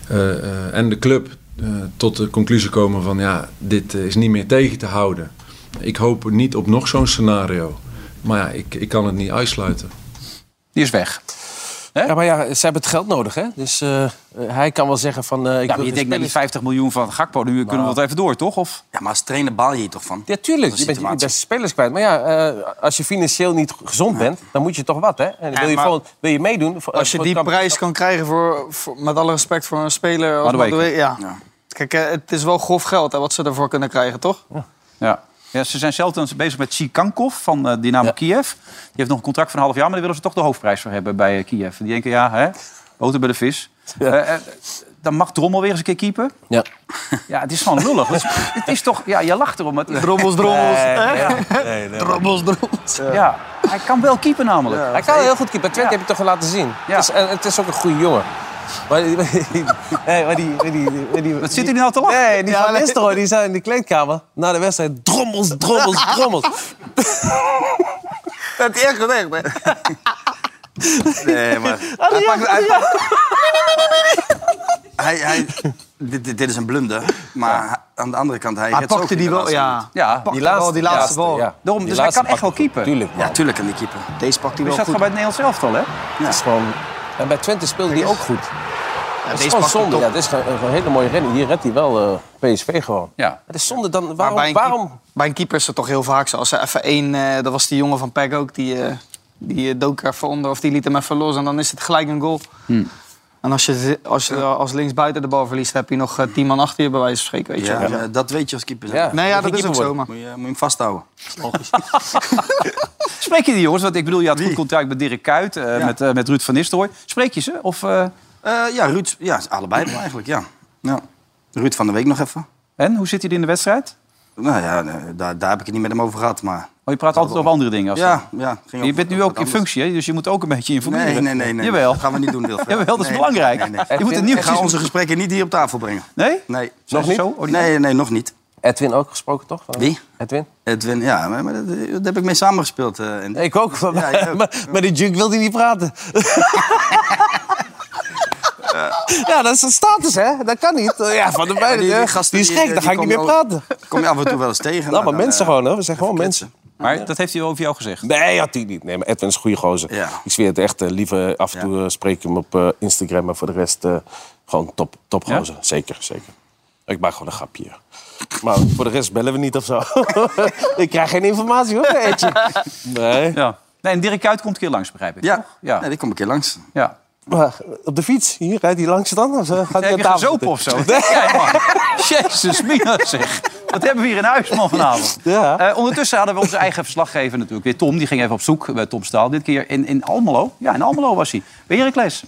eh, eh, en de club eh, tot de conclusie komen van ja, dit eh, is niet meer tegen te houden. Ik hoop niet op nog zo'n scenario. Maar ja, ik, ik kan het niet uitsluiten.
Die is weg.
Ja, maar ja, ze hebben het geld nodig, hè? Dus eh, eh, hij kan wel zeggen van... eh, ik
Ja,
wil
maar je
geen
denkt met die
spelers.
50 miljoen van Gakpo, nu kunnen we wat even door, toch? Of?
Ja, maar als trainer baal je hier toch van?
Ja, tuurlijk.
Dat
Je
is de
bent je
situatie.
beste spelers kwijt. Maar ja, eh, als je financieel niet gezond bent, dan moet je toch wat, hè? En wil je,
maar-
gewoon, wil je meedoen... voor-
Als je
voor
die
het kamp-
prijs kan krijgen, voor, voor- met alle respect voor een speler... als
Madueke.
Madueke, ja.
Ja.
Kijk, eh, het is wel grof geld hè, wat ze ervoor kunnen krijgen, toch?
Ja. Ja, ze zijn zelf dan bezig met Sikankov van eh, Dynamo Kiev. Die heeft nog een contract van een half jaar, maar daar willen ze toch de hoofdprijs voor hebben bij eh, Kiev. Die denken, ja, hè, boter bij de vis. Eh, eh, dan mag Drommel weer eens een keer keeper.
Ja.
Ja, het is gewoon lullig. Het is, het is toch, ja, je lacht erom. maar Het,
Drommels, drommels.
Drommels,
ja, hij kan wel keeper namelijk.
Hij kan heel goed keeper. Bij Twente
Ja.
heb je toch wel laten zien.
Ja.
Het, is, en het is ook een goede jongen. Maar die... eh, maar die, maar die, maar die
Wat zit hij nou te lachen?
Nee, die van Nistelrooy die zat in de kleedkamer na de wedstrijd. Drommels, drommels, drommels.
Dat is echt gezegd, hè?
Nee, maar... Hij pakt... Hij, hij, hij- dit, dit, dit is een blunder, maar aan de andere kant... Hij,
Hij
redt ze ook
pakte
in
die
de
wel,
laatste
ja.
minuut.
Ja,
die laatste- die laatste bal.
Daarom,
Die
dus hij
laatste
kan echt wel
pakt hem.
keeper.
Tuurlijk, man.
Ja, tuurlijk kan die keeper. Deze pakt hij
Is Dus dat
wel goed.
gewoon bij het Nederlands elftal, hè?
Het is gewoon... En bij Twente speelde hij ook goed. dat
deze
is gewoon
pakt hem
zonde.
toch.
Ja, dat is gewoon een hele mooie redding. Hier redt hij wel eh, PSV gewoon.
Ja.
Het is zonde dan.
Maar
Waarom?
bij, een keep-
waarom?
bij een keeper is het toch heel vaak zo. Als er even één, eh, dat was die jongen van PEC ook, die, eh, die eh, dook er even onder of die liet hem even los en dan is het gelijk een goal. En als je, zi- als, je als linksbuiten de bal verliest, heb je nog eh, tien man achter je bij wijze van spreken. Weet je.
Ja,
wel.
maar dat weet je als keeper.
Ja, nee, ja, dat is ook zo. Maar.
Moet je, moet je hem vasthouden.
Spreek je die jongens? Want ik bedoel, je had goed contact met Dirk Kuyt, eh, met, eh, met Ruud van Nistelrooy. Spreek je ze? Of,
Eh, ja, Ruud, ja, allebei wel eigenlijk, ja. ja. Ruud van de Week nog even.
En, hoe zit hij in de wedstrijd?
Nou ja, nee, daar, daar heb ik het niet met hem over gehad, maar...
Oh, je praat altijd over andere dingen. Als
Ja, ja. ging
je bent nu ook in
anders.
functie, hè? dus je moet ook een beetje informeren.
Nee, nee, nee, nee.
Jawel.
Dat gaan we niet doen, Wilfred.
Jawel, dat is
Nee,
belangrijk.
nee, nee.
Je moet het
Ik ga
nieuwtjes...
onze gesprekken niet hier op tafel brengen.
Nee?
Nee.
Nog niet? Oh, die-
nee, nee, nog niet.
Edwin ook gesproken, toch?
Wie?
Edwin.
Edwin, ja, maar maar dat, dat heb ik mee samengespeeld. eh en...
Ik ook. Maar,
jij ook.
maar, maar die junk wil hij niet praten. ja, dat is een status, hè? Dat kan niet. Ja, van de
Ja,
beide.
die- die
Die,
gasten
is
die-
gek,
die
dan ga ik niet meer
komen al-
praten.
Kom je af en toe wel eens tegen?
Nou, maar
eh,
mensen gewoon, hè? We zijn gewoon mensen.
Maar dat heeft hij over jou gezegd?
Nee, had hij niet. Nee, maar Edwin is een goede gozer. Ik zweer het echt. eh, Liever af en toe eh, spreek ik hem op eh, Instagram. Maar voor de rest eh, gewoon top, top gozer. Zeker, zeker. Ik maak gewoon een grapje. hier. Maar voor de rest bellen we niet of zo. ik krijg geen informatie hoor, Edje. Nee.
Ja. Nee, en Dirk Kuyt komt een keer langs, begrijp ik.
Ja,
ja.
Nee, die kom een keer langs.
Ja.
Maar op de fiets, hier, rijdt hij langs dan? Of eh, gaat hij
Heb
aan
je
tafel
gezopen
zitten?
of zo? Kijk, man. Jezus, mina zeg. Wat hebben we hier in huis, man, vanavond? Eh, ondertussen hadden we onze eigen verslaggever natuurlijk weer. Tom, die ging even op zoek bij Tom Staal. Dit keer in, in Almelo. Ja, in Almelo was hij. Bij Heracles.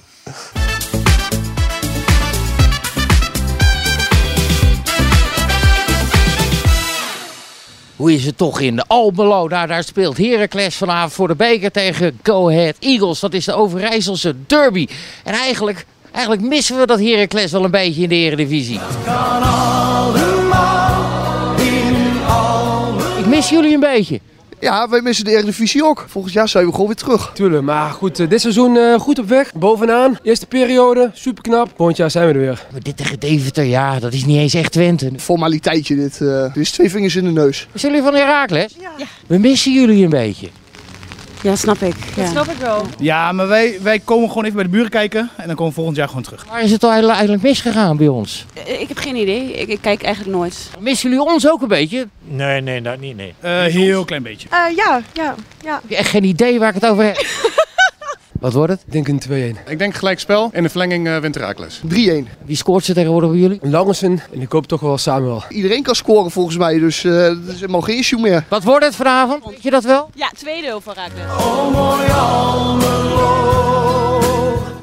Hoe is het toch in de Almelo? Daar, daar speelt Heracles vanavond voor de beker tegen Go Ahead Eagles. Dat is de Overijsselse derby. En eigenlijk, eigenlijk missen we dat Heracles wel een beetje in de eredivisie. Ik mis jullie een beetje.
Ja, wij missen de Eredivisie ook. Volgend jaar zijn we gewoon weer terug.
Tuurlijk, maar goed, eh, dit seizoen eh, goed op weg. Bovenaan, eerste periode, super knap. Volgend jaar zijn we er weer.
Maar dit tegen Deventer, ja, dat is niet eens echt Twente.
Formaliteitje dit. eh. dit is twee vingers in de neus.
Zijn jullie van Heracles? Ja. We missen jullie een beetje.
Ja, snap ik. Ja.
snap
ik wel. Ja, maar wij, wij komen gewoon even bij de buren kijken en dan komen we volgend jaar gewoon terug.
Waar is het al eigenlijk misgegaan bij ons?
Ik heb geen idee. Ik, ik kijk eigenlijk nooit.
Missen jullie ons ook een beetje?
Nee, nee, dat niet, nee.
heel klein beetje.
ja, ja, ja.
Heb je echt geen idee waar ik het over heb? Wat wordt het? Ik
denk een 2-1.
Ik denk gelijk spel. In de verlenging eh wint Heracles.
3-1.
Wie scoort ze tegenwoordig bij jullie?
Langensen en ik hoop toch wel Samuel.
Iedereen kan scoren volgens mij, dus eh, dat is helemaal geen issue meer.
Wat wordt het vanavond? Weet je dat wel?
Ja, tweede heel van Raakles.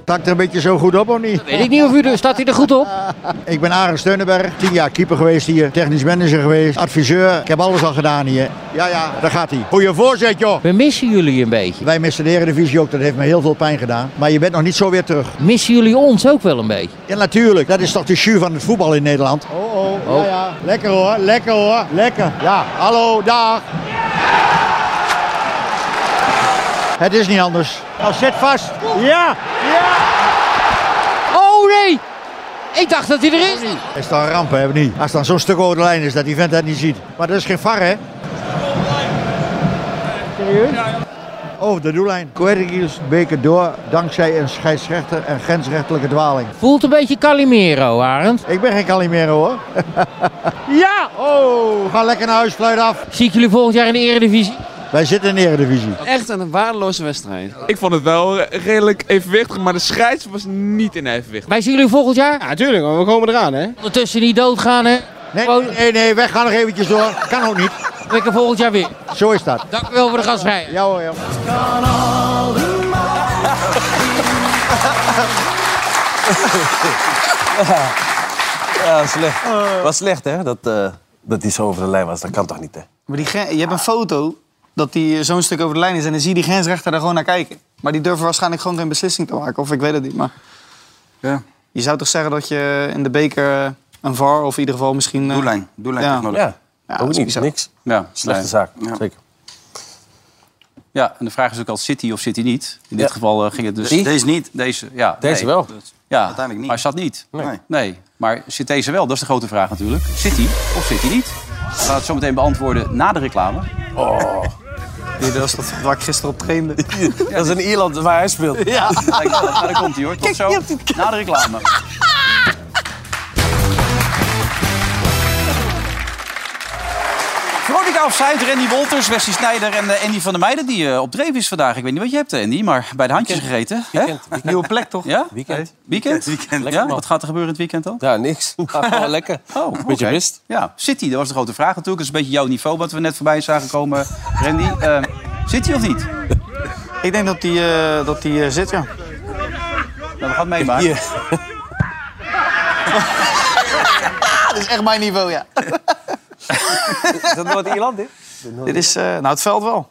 Takt er een beetje zo goed op of niet?
Weet ik niet of u er, staat hij er goed op?
Ik ben Arend Steunenberg, tien jaar keeper geweest hier, technisch manager geweest, adviseur. Ik heb alles al gedaan hier. Ja, ja, daar gaat hij. Goeie voorzet, joh.
We missen jullie een beetje.
Wij missen de Eredivisie ook, dat heeft me heel veel pijn gedaan. Maar je bent nog niet zo weer terug.
Missen jullie ons ook wel een beetje?
Ja, natuurlijk. Dat is toch de jus van het voetbal in Nederland. Oh, oh,
Oh.
ja, ja. Lekker hoor, lekker hoor, lekker. Ja, hallo, dag. Het is niet anders. Nou, zet vast. Ja,
Oh nee! Ik dacht dat hij er is.
Dat is dan een ramp, hè, of niet? Als dan zo'n stuk over de lijn is dat die vent dat niet ziet. Maar dat is geen var, hè? Serieus? Oh, de doellijn. Querigis beker door dankzij een scheidsrechter en grensrechtelijke dwaling.
Voelt een beetje Calimero, Arend.
Ik ben geen Calimero, hoor. ja! Oh, ga lekker naar huis, fluit af.
Zie ik jullie volgend jaar in de Eredivisie?
Wij zitten in de Eredivisie.
Echt een waardeloze wedstrijd.
Ik vond het wel redelijk evenwichtig, maar de scheids was niet in evenwicht.
Wij zien jullie volgend jaar? Ja,
natuurlijk, we komen eraan, hè?
Ondertussen niet doodgaan, hè?
Nee, nee, nee, wij gaan nog eventjes door. Kan ook niet.
Lekker volgend jaar weer.
Zo is dat.
Dank u wel voor de gastvrijheid.
Ja hoor, ja.
Ja, slecht. Was slecht, hè? Dat, eh, dat die zo over de lijn was. Dat kan toch niet, hè?
Maar die gren- je hebt een foto dat die eh, zo'n stuk over de lijn is en dan zie je die grensrechter er gewoon naar kijken. Maar die durven waarschijnlijk gewoon geen beslissing te maken, of ik weet het niet. Maar
Ja.
je zou toch zeggen dat je in de beker eh, een VAR of in ieder geval misschien... eh,
Doellijn. Doellijn
ja.
toch nodig?
Ja.
Ja,
dat is
niet,
bizar.
niks. Ja,
Slechte
nee.
zaak,
Ja.
zeker.
Ja, en de vraag is ook al, zit hij of zit hij niet? In dit
Ja.
geval eh, ging het dus...
De- deze niet.
Deze, ja,
Deze wel.
Ja,
Uiteindelijk niet.
maar hij zat niet.
Nee.
Nee. maar zit deze wel? Dat is de grote vraag natuurlijk. Zit hij of zit hij niet? We gaan het zo meteen beantwoorden na de reclame.
Oh.
Die, dat is dat waar ik gisteren op trainde.
Dat is in Ierland waar hij speelt.
Ja, kijk, nou, daar komt hij hoor. Tot zo. Na de reclame. Veronica Offside, Randy Wolters, Wesley Snijder en eh, Andy van der Meijden... die eh, op dreef is vandaag. Ik weet niet wat je hebt, eh, Andy, maar bij de handjes gegeten. Hè?
Nieuwe plek toch?
Ja? Weekend. Weekend? ja? Wat gaat er gebeuren in het weekend dan?
Ja, niks. Maar gewoon lekker.
Oh,
Beetje
oké.
mist.
Ja, City, dat was de grote vraag natuurlijk. Dat is een beetje jouw niveau wat we net voorbij zagen komen, Randy. Eh, City of niet?
Ik denk dat die, eh, dat die eh, zit, ja.
Nou, we gaan het meemaken.
dat Ah, is echt mijn niveau, ja.
Is dat Noord-Ierland, dit?
Dit is, eh, nou, het veld wel.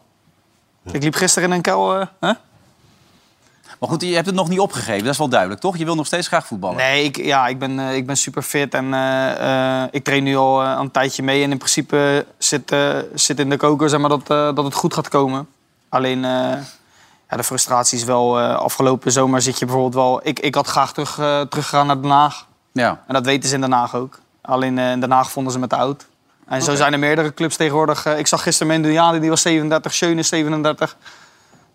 Ik liep gisteren in een kuil. eh, hè?
Maar goed, je hebt het nog niet opgegeven. Dat is wel duidelijk, toch? Je wil nog steeds graag voetballen.
Nee, ik, ja, ik, ben, eh, ik ben super fit en eh, eh, ik train nu al eh, een tijdje mee. En in principe eh, zit, eh, zit in de koker zeg maar, dat, eh, dat het goed gaat komen. Alleen eh, ja, de frustratie is wel. eh, afgelopen zomer zit je bijvoorbeeld wel. Ik, ik had graag terug, eh, teruggegaan naar Den Haag.
Ja.
En dat weten ze in Den Haag ook. Alleen eh, in Den Haag vonden ze me te oud. En zo zijn er meerdere clubs tegenwoordig. Eh, ik zag gisteren Mendojani, die was 37, Schöne is 37.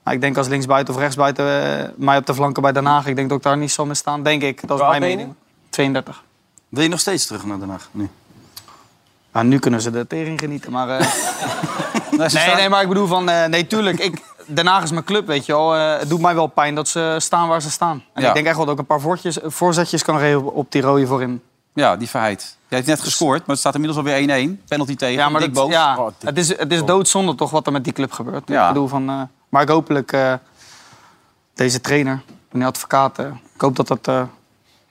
Maar ik denk als linksbuiten of rechtsbuiten eh, mij op de flanken bij Den Haag... ik denk dat ik daar niet zal mee staan, denk ik. Dat is
Hoe oud
mijn
ben je
mening. 32.
Wil je nog steeds terug naar Den Haag? Nu?
Ja, nu kunnen ze de tering genieten, maar... eh,
nee,
nee, maar ik bedoel van... eh, nee, tuurlijk, ik, Den Haag is mijn club, weet je wel. Eh, het doet mij wel pijn dat ze staan waar ze staan. En
Ja.
ik denk echt wel dat ik een paar voortjes, voorzetjes kan geven op die rode voorin.
Ja, die verheid. Jij heeft net gescoord, maar het staat inmiddels alweer 1-1. Penalty tegen,
Ja, maar
dik
dat-
boos. Oh,
ja, het, is, het is doodzonde toch wat er met die club gebeurt.
Ja.
Ik bedoel van, eh, maar ik hopelijk eh, deze trainer, meneer advocaat, eh, ik hoop dat dat eh,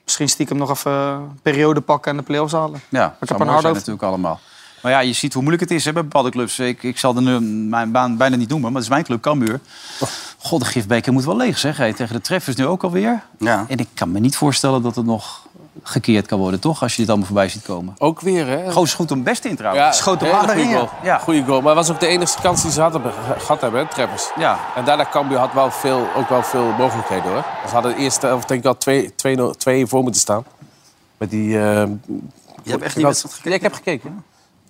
misschien stiekem nog even een periode pakken en de play-offs halen.
Ja,
heb
ik
een
heb een
hard
hard zijn
hoofd.
natuurlijk allemaal. Maar ja, je ziet hoe moeilijk het is hè, bij bepaalde clubs. Ik, ik zal de, nu- mijn baan bijna niet noemen, maar het is mijn club, Cambuur.
Oh.
God, de gifbeker moet wel leeg, zeg. Hey, tegen de treffers nu ook alweer.
Ja.
En ik kan me niet voorstellen dat het nog gekeerd kan worden, toch? Als je dit allemaal voorbij ziet komen.
Ook weer, hè?
Goos goed om best in trouwens.
een hele goede
ja.
goal. Goeie goal. Maar het was ook de enige kans die ze hadden, be- gehad hebben, hè, Treppers.
Ja.
En daarna Cambuur had wel veel, ook wel veel mogelijkheden, hoor. Ze hadden eerst, eh, denk ik wel, 2-1 twee, twee, nul- 2-1 voor moeten staan. Met die... eh, je
hebt echt die wedstrijd
gekeken? ik heb gekeken.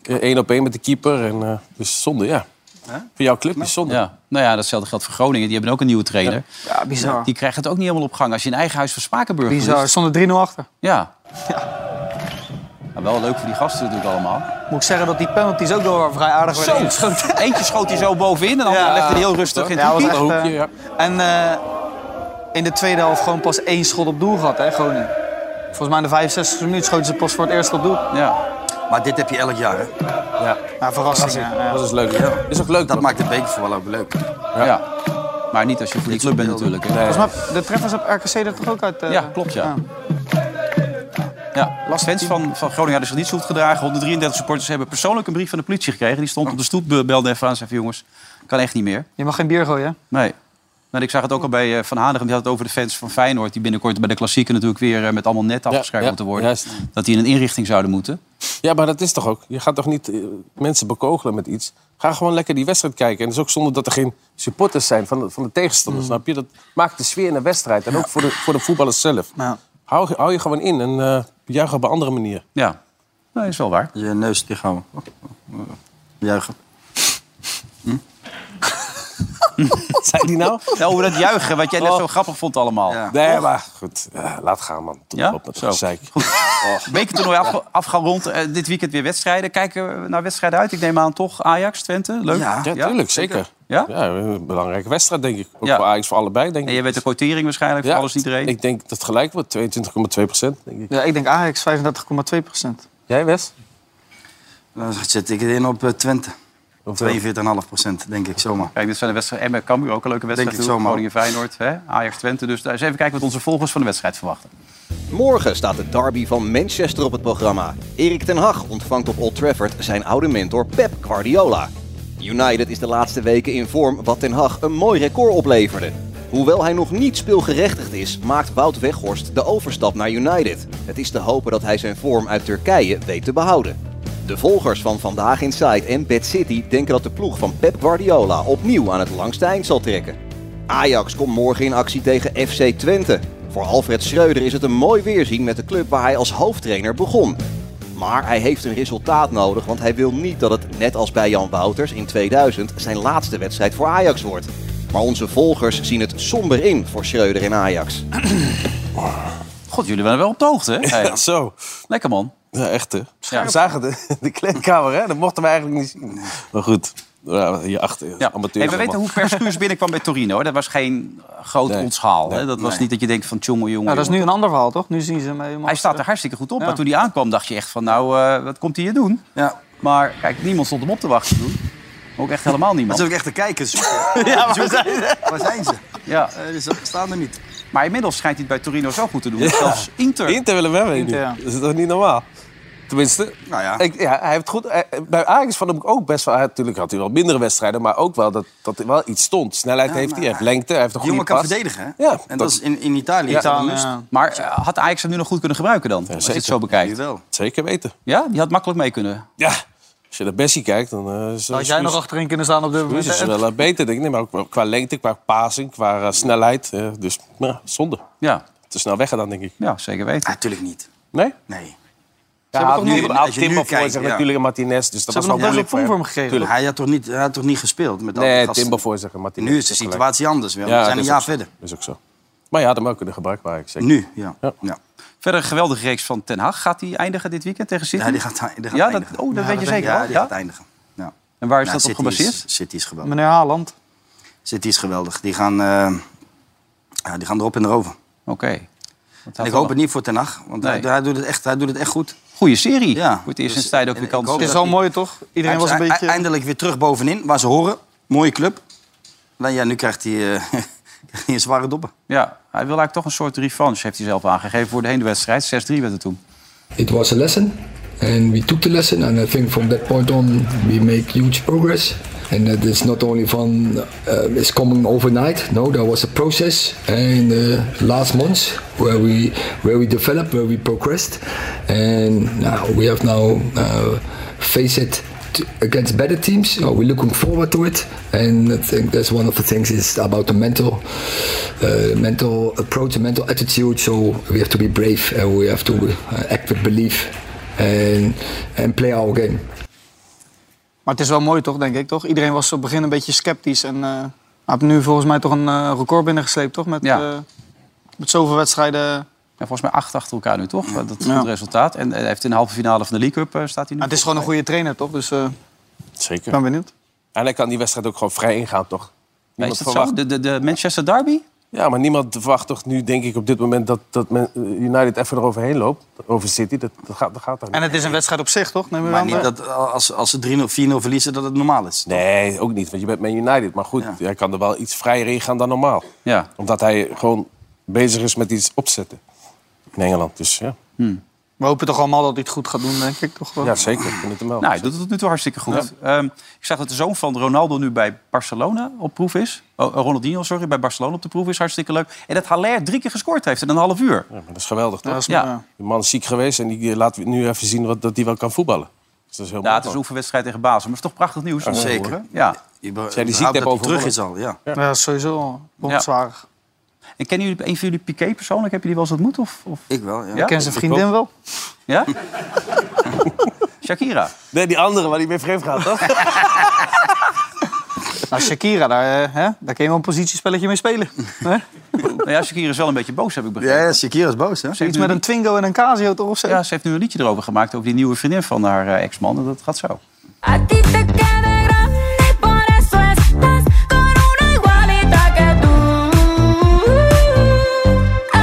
Eén op één met de keeper. En, eh, dus zonde, ja. Voor jouw club is zonde.
Ja. Nou ja, datzelfde geldt voor Groningen. Die hebben ook een nieuwe trainer.
Ja, bizar.
Die krijgt het ook niet helemaal op gang als je in eigen huis van Spakenburg
Bizar,
verliest.
zonder 3-0 achter.
Ja. Maar wel leuk voor die gasten natuurlijk allemaal.
Moet ik zeggen dat die penalties ook wel vrij aardig
Zo,
werden ingeschoten.
eentje schoot hij zo bovenin en dan
Ja.
legde hij heel rustig in het
Ja, was
hoekje.
echt, eh, En eh, in de tweede helft gewoon pas één schot op doel gehad, hè, Groningen. Volgens mij in de 65 e minuut schoten ze pas voor het eerst op doel.
Ja.
Maar dit heb je elk jaar, hè?
Ja,
ja verrassing. ja, ja.
Dat is dus leuk. Dat is ook leuk.
Dat maakt de bekervoetbal ook leuk.
Ja. Maar niet als je voor die club bent natuurlijk. hè.
Volgens mij de treffers op RKC er toch ook uit? eh,
Ja, klopt ja. Ja, Last Fans van, van Groningen hadden zich niet zoet gedragen. 133 supporters hebben persoonlijk een brief van de politie gekregen. Die stond op de stoep, be- belde even aan en zei van, jongens, kan echt niet meer.
Je mag geen bier gooien, hè?
Nee. Nou, ik zag het ook al bij eh, Van Hanegem. Die had het over de fans van Feyenoord. Die binnenkort bij de klassieker natuurlijk weer eh, met allemaal net afgeschreven
ja,
moeten worden. Dat die in een inrichting zouden moeten.
Ja, maar dat is toch ook. Je gaat toch niet eh, mensen bekogelen met iets. Ga gewoon lekker die wedstrijd kijken. En dat is ook zonder dat er geen supporters zijn van de, van de tegenstander.
Mm.
Snap je? Dat maakt de sfeer in de wedstrijd. En ook voor de, voor de voetballers zelf. Hou, hou je gewoon in en eh juich op een andere manier.
Ja, dat is wel waar.
Je neus dicht houden. Juichen.
Zijn die nou?
Ja, over dat juichen, wat jij net zo grappig vond allemaal.
Nee, maar goed. eh, laat gaan, man. Tot
Ja?
op met dat gezeik.
Bekertoernooi afge afgerond. Eh, dit weekend weer wedstrijden. Kijken we naar wedstrijden uit? Ik neem aan toch Ajax, Twente? Leuk.
Ja, tuurlijk. Zeker.
Ja?
een belangrijke wedstrijd, denk ik. Ook
Ja.
voor Ajax, voor allebei, denk ik.
En je weet de quotering waarschijnlijk voor alles en iedereen.
Ik denk dat het gelijk wordt. 22,2 procent, denk ik.
Ja, ik denk Ajax 35,2 procent.
Jij, Wes?
Dan zit ik in op eh, Twente. 42,5 procent, denk ik zomaar.
Kijk, dit zijn de wedstrijden. Emmen Cambuur ook een leuke wedstrijd.
Denk ik zomaar.
Groningen Feyenoord, hè? Ajax Twente. Dus daar eens even kijken wat onze volgers van de wedstrijd verwachten.
Morgen staat de derby van Manchester op het programma. Erik ten Hag ontvangt op Old Trafford zijn oude mentor Pep Guardiola. United is de laatste weken in vorm wat ten Hag een mooi record opleverde. Hoewel hij nog niet speelgerechtigd is, maakt Wout Weghorst de overstap naar United. Het is te hopen dat hij zijn vorm uit Turkije weet te behouden. De volgers van Vandaag Inside en Bad City denken dat de ploeg van Pep Guardiola opnieuw aan het langste eind zal trekken. Ajax komt morgen in actie tegen FC Twente. Voor Alfred Schreuder is het een mooi weerzien met de club waar hij als hoofdtrainer begon. Maar hij heeft een resultaat nodig, want hij wil niet dat het, net als bij Jan Wouters in 2000, zijn laatste wedstrijd voor Ajax wordt. Maar onze volgers zien het somber in voor Schreuder en Ajax.
God, jullie waren wel op de hoogte, hè? Hey.
Zo.
Lekker man.
Ja, echt hè. We zagen de, de kleedkamer, hè? Dat mochten we eigenlijk niet zien. Maar goed, ja, hierachter.
Ja.
Ja. Amateur.
Hey, we weten hoe Perskuus binnenkwam bij Torino. hè? Dat was geen groot
Nee.
ontschaal. Hè? Dat was
Nee.
niet dat je denkt van tjonge jongen.
Nou, dat is nu een ander verhaal, toch? Nu zien ze hem eh, helemaal...
Hij staat er
eh,
hartstikke goed op.
Ja.
Maar toen hij aankwam dacht je echt van nou, eh, wat komt hij hier doen?
Ja.
Maar kijk, niemand stond hem op te wachten toen. Ook echt helemaal
Dat
niemand.
is ook echt de kijkers.
Ja, waar
Zoeken.
zijn ze?
Waar zijn ze?
Ja.
Eh, ze staan er niet.
Maar inmiddels schijnt hij het bij Torino zo goed te doen.
Ja.
dat Zelfs Inter.
Inter willen we hebben.
Inter, ja.
Dat is toch niet normaal? Tenminste,
nou ja.
Ik, ja, hij heeft goed. eh, Bij Ajax vond ik ook best wel. hij- Natuurlijk had hij wel mindere wedstrijden, maar ook wel dat, dat er wel iets stond. Snelheid heeft hij, hij heeft lengte, hij heeft een
Die
goede
jongen
pas.
kan verdedigen, hè?
Ja,
en dat is in, in Italië.
Ja,
is dat een
dan,
must.
eh, maar eh, had Ajax hem nu nog goed kunnen gebruiken dan? als je het
zeker.
zo bekijkt.
Jawel.
Zeker weten.
Ja, die had makkelijk mee kunnen.
Ja, als je naar Bessie kijkt, dan. eh, is-
Had jij
is-
nog achterin kunnen staan op dit
is
moment?
het wel eh, beter, denk ik. Nee, maar ook wel qua lengte, qua passing, qua eh, snelheid. eh, dus nou, zonde.
Ja.
Te snel weggedaan, denk ik.
Ja, zeker weten.
Natuurlijk niet.
Nee?
Nee.
Ja,
hebben
hij
toch
had nu
nog- als
had
je nu
Timber voor
kijkt,
zich
ja.
natuurlijk en Martinez. Dus dat
Ze
was
hebben nog
wel
best wel
moeilijk voor
vorm voor hem
hem.
gegeven.
Tuurlijk.
Hij had toch niet, hij had toch niet gespeeld met al die
Nee,
gasten?
Timber voor zich en Martinez.
Nu is de
Gelijk.
situatie anders. weer.
Ja,
we zijn
dat
een
is
jaar
ook zo.
verder.
Dat is ook zo. Maar je had hem ook kunnen gebruiken, waar ik zeker.
Nu, ja. ja.
Verder een geweldige reeks van Ten Hag. Gaat die eindigen dit weekend tegen City?
Ja, die gaat, die gaat
Ja, dat,
eindigen.
oh, dat
Ja,
weet je
denk ik.
zeker
Ja,
wel?
die
Ja?
gaat eindigen. Ja.
En waar is
Nou,
dat op
City is-
gebaseerd?
City is geweldig.
Meneer Haaland.
City is geweldig. Die gaan, eh, ja, die gaan erop en erover.
Oké.
En ik hoop het niet voor Ten Hag, want hij,
Nee.
hij, doet het echt, hij doet het echt goed.
Goeie serie.
Ja.
Voor het eerst
Dus-
sinds tijden ook
en
weer
ik
kans.
hoop
Het is
dat
wel
hij-
mooi, toch? Iedereen
Hij
was
is
een
e-
beetje...
Eindelijk weer terug bovenin, waar ze horen. Mooie club. Nou ja, nu krijgt hij, eh, krijgt hij een zware dobber.
Ja, hij wil eigenlijk toch een soort revanche, heeft hij zelf aangegeven voor de heenwedstrijd. 6-3 werd het toen.
it was a lesson and we took the lesson and i think from that point on we make huge progress and that it's not only from uh, it's coming overnight no there was a process in the last months where we where we developed where we progressed and now we have now uh, face it t- against better teams so we're looking forward to it and i think that's one of the things is about the mental uh, mental approach and mental attitude so we have to be brave and we have to uh, act with belief and and play our game
Maar het is wel mooi, toch, denk ik, toch? Iedereen was op het begin een beetje sceptisch. En eh, hij heeft nu volgens mij toch een eh, record binnengesleept, toch? Met,
Ja.
eh, met zoveel wedstrijden.
Ja, volgens mij acht achter elkaar nu, toch? Dat is een goed resultaat. En eh, hij heeft in de halve finale van de League Cup eh, staat hij nu.
Maar Ah, het is gewoon een goede trainer, toch? Dus eh, ik
Zeker.
ben benieuwd.
En hij kan die wedstrijd ook gewoon vrij ingaan, toch?
Nee, is dat zo? De, de, de Manchester Derby?
Ja, maar niemand verwacht toch nu, denk ik, op dit moment dat, dat men- eh, United even eroverheen loopt. Over City, dat, dat gaat, dat gaat dan niet.
En het is een wedstrijd op zich, toch? Neem
Maar niet dat eh, als, als ze 3-0, 4-0 verliezen, dat het normaal is.
Nee, ook niet, want je bent Man United. Maar goed, hij kan er wel iets vrijer in gaan dan normaal.
Ja.
Omdat hij gewoon bezig is met iets opzetten in Engeland. Dus ja,
We hopen toch allemaal dat hij het goed gaat doen, denk ik, toch? wel?
ja zeker. Ik vind het hem wel.
Nou, hij doet het tot nu toe hartstikke goed. Ehm, ik zag dat de zoon van Ronaldo nu bij Barcelona op proef is. Oh, Ronaldinho, sorry, bij Barcelona op de proef is. Hartstikke leuk. En dat Haller drie keer gescoord heeft in een half uur.
Ja, maar dat is geweldig, toch?
dat is- Ja. ja.
Die man is ziek geweest en die laat nu even zien wat, dat hij wel kan voetballen. Dus dat is heel
Ja,
mooi.
het is een oefenwedstrijd tegen Basel. Maar het is toch prachtig nieuws. om te
Zeker.
horen. Ja.
Je be-
Zijn die
überhaupt
ziekte
dat hij terug
overwonnen?
is al, ja.
Ja, sowieso al bondzwaar.
En kennen jullie, een van jullie Piqué persoonlijk? Heb je die wel eens ontmoet? Of, of...
Ik wel, ja.
Ja?
Ken zijn vriendin wel?
Ja? Shakira.
Nee, die andere waar hij mee vreemd gaat, toch?
Nou, Shakira, daar, eh, hè? daar kun je wel een positiespelletje mee spelen. hè?
Nou ja, Shakira is wel een beetje boos, heb ik begrepen.
Ja, Shakira is boos, hè?
Ze heeft
Iets
nu
met een Twingo en een Casio, toch? Of zo?
Ja, ze heeft nu een liedje erover gemaakt over die nieuwe vriendin van haar eh, ex-man. En dat gaat zo.
A ti te queda grande y por eso estás con una igualita que tú. Ah,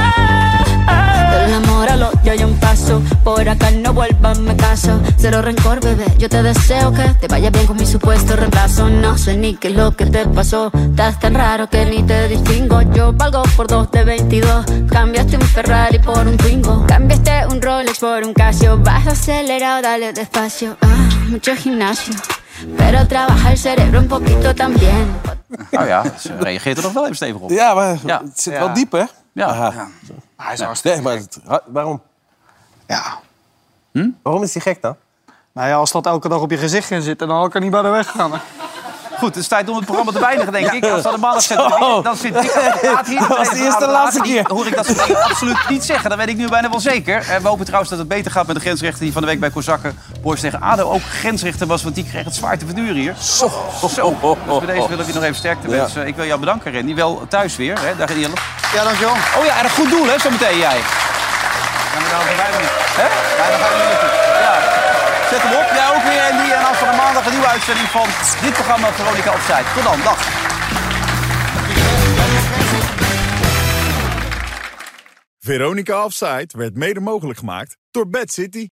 ah.
Enamóralo, ya hay un paso. Por acá no vuelvas, me caso. Cero rencor, bebé. Yo te deseo que te vaya bien con mi supuesto reemplazo. No sé ni qué es lo que te pasó. Estás tan raro que ni te distingo. Yo valgo por dos de 22. Cambiaste un Ferrari por un Twingo.
Cambiaste un Rolex por un Casio. Vas acelerado, dale despacio. Ah, mucho gimnasio.
Pero trabaja el cerebro un poquito también.
Nou ja, ze reageert er nog wel even stevig op.
Ja, maar
Ja.
het zit
Ja.
wel diep, hè?
Ja.
Hij is hartstikke nee, maar het- ha- Waarom?
Ja.
Waarom is hij gek dan?
Nou ja, als dat elke dag op je gezicht ging zitten, dan had ik er niet bij de weg gegaan. hè.
goed, het is tijd om het programma te weinigen, denk ik. Als dat een maandag zit, dan zit ik inderdaad hier.
Dat was de eerste en laatste
Die
keer.
Hoor ik dat soort dingen absoluut niet zeggen. Dat weet ik nu bijna wel zeker. En we hopen trouwens dat het beter gaat met de grensrechter die van de week bij Kozakken Boys tegen ADO ook grensrechter was, want die kreeg het zwaar te verduren hier. Zo. Dus bij deze wil ik je nog even sterkte
Ja.
wensen. Ik wil jou bedanken, Randy. Wel thuis weer, hè? Dag Jelle. Ja, dankjewel. Oh ja, en een goed doel, hè, zometeen jij. Ja, maar dan gaan wij niet. Hè? Ja, dan gaan we niet naartoe. Ja. Zet hem op, jij ook weer, Andy. En dan van de maandag een nieuwe uitzending van dit programma Veronica Opzij. Tot dan, dag.
Veronica Offside werd mede mogelijk gemaakt door Bad City.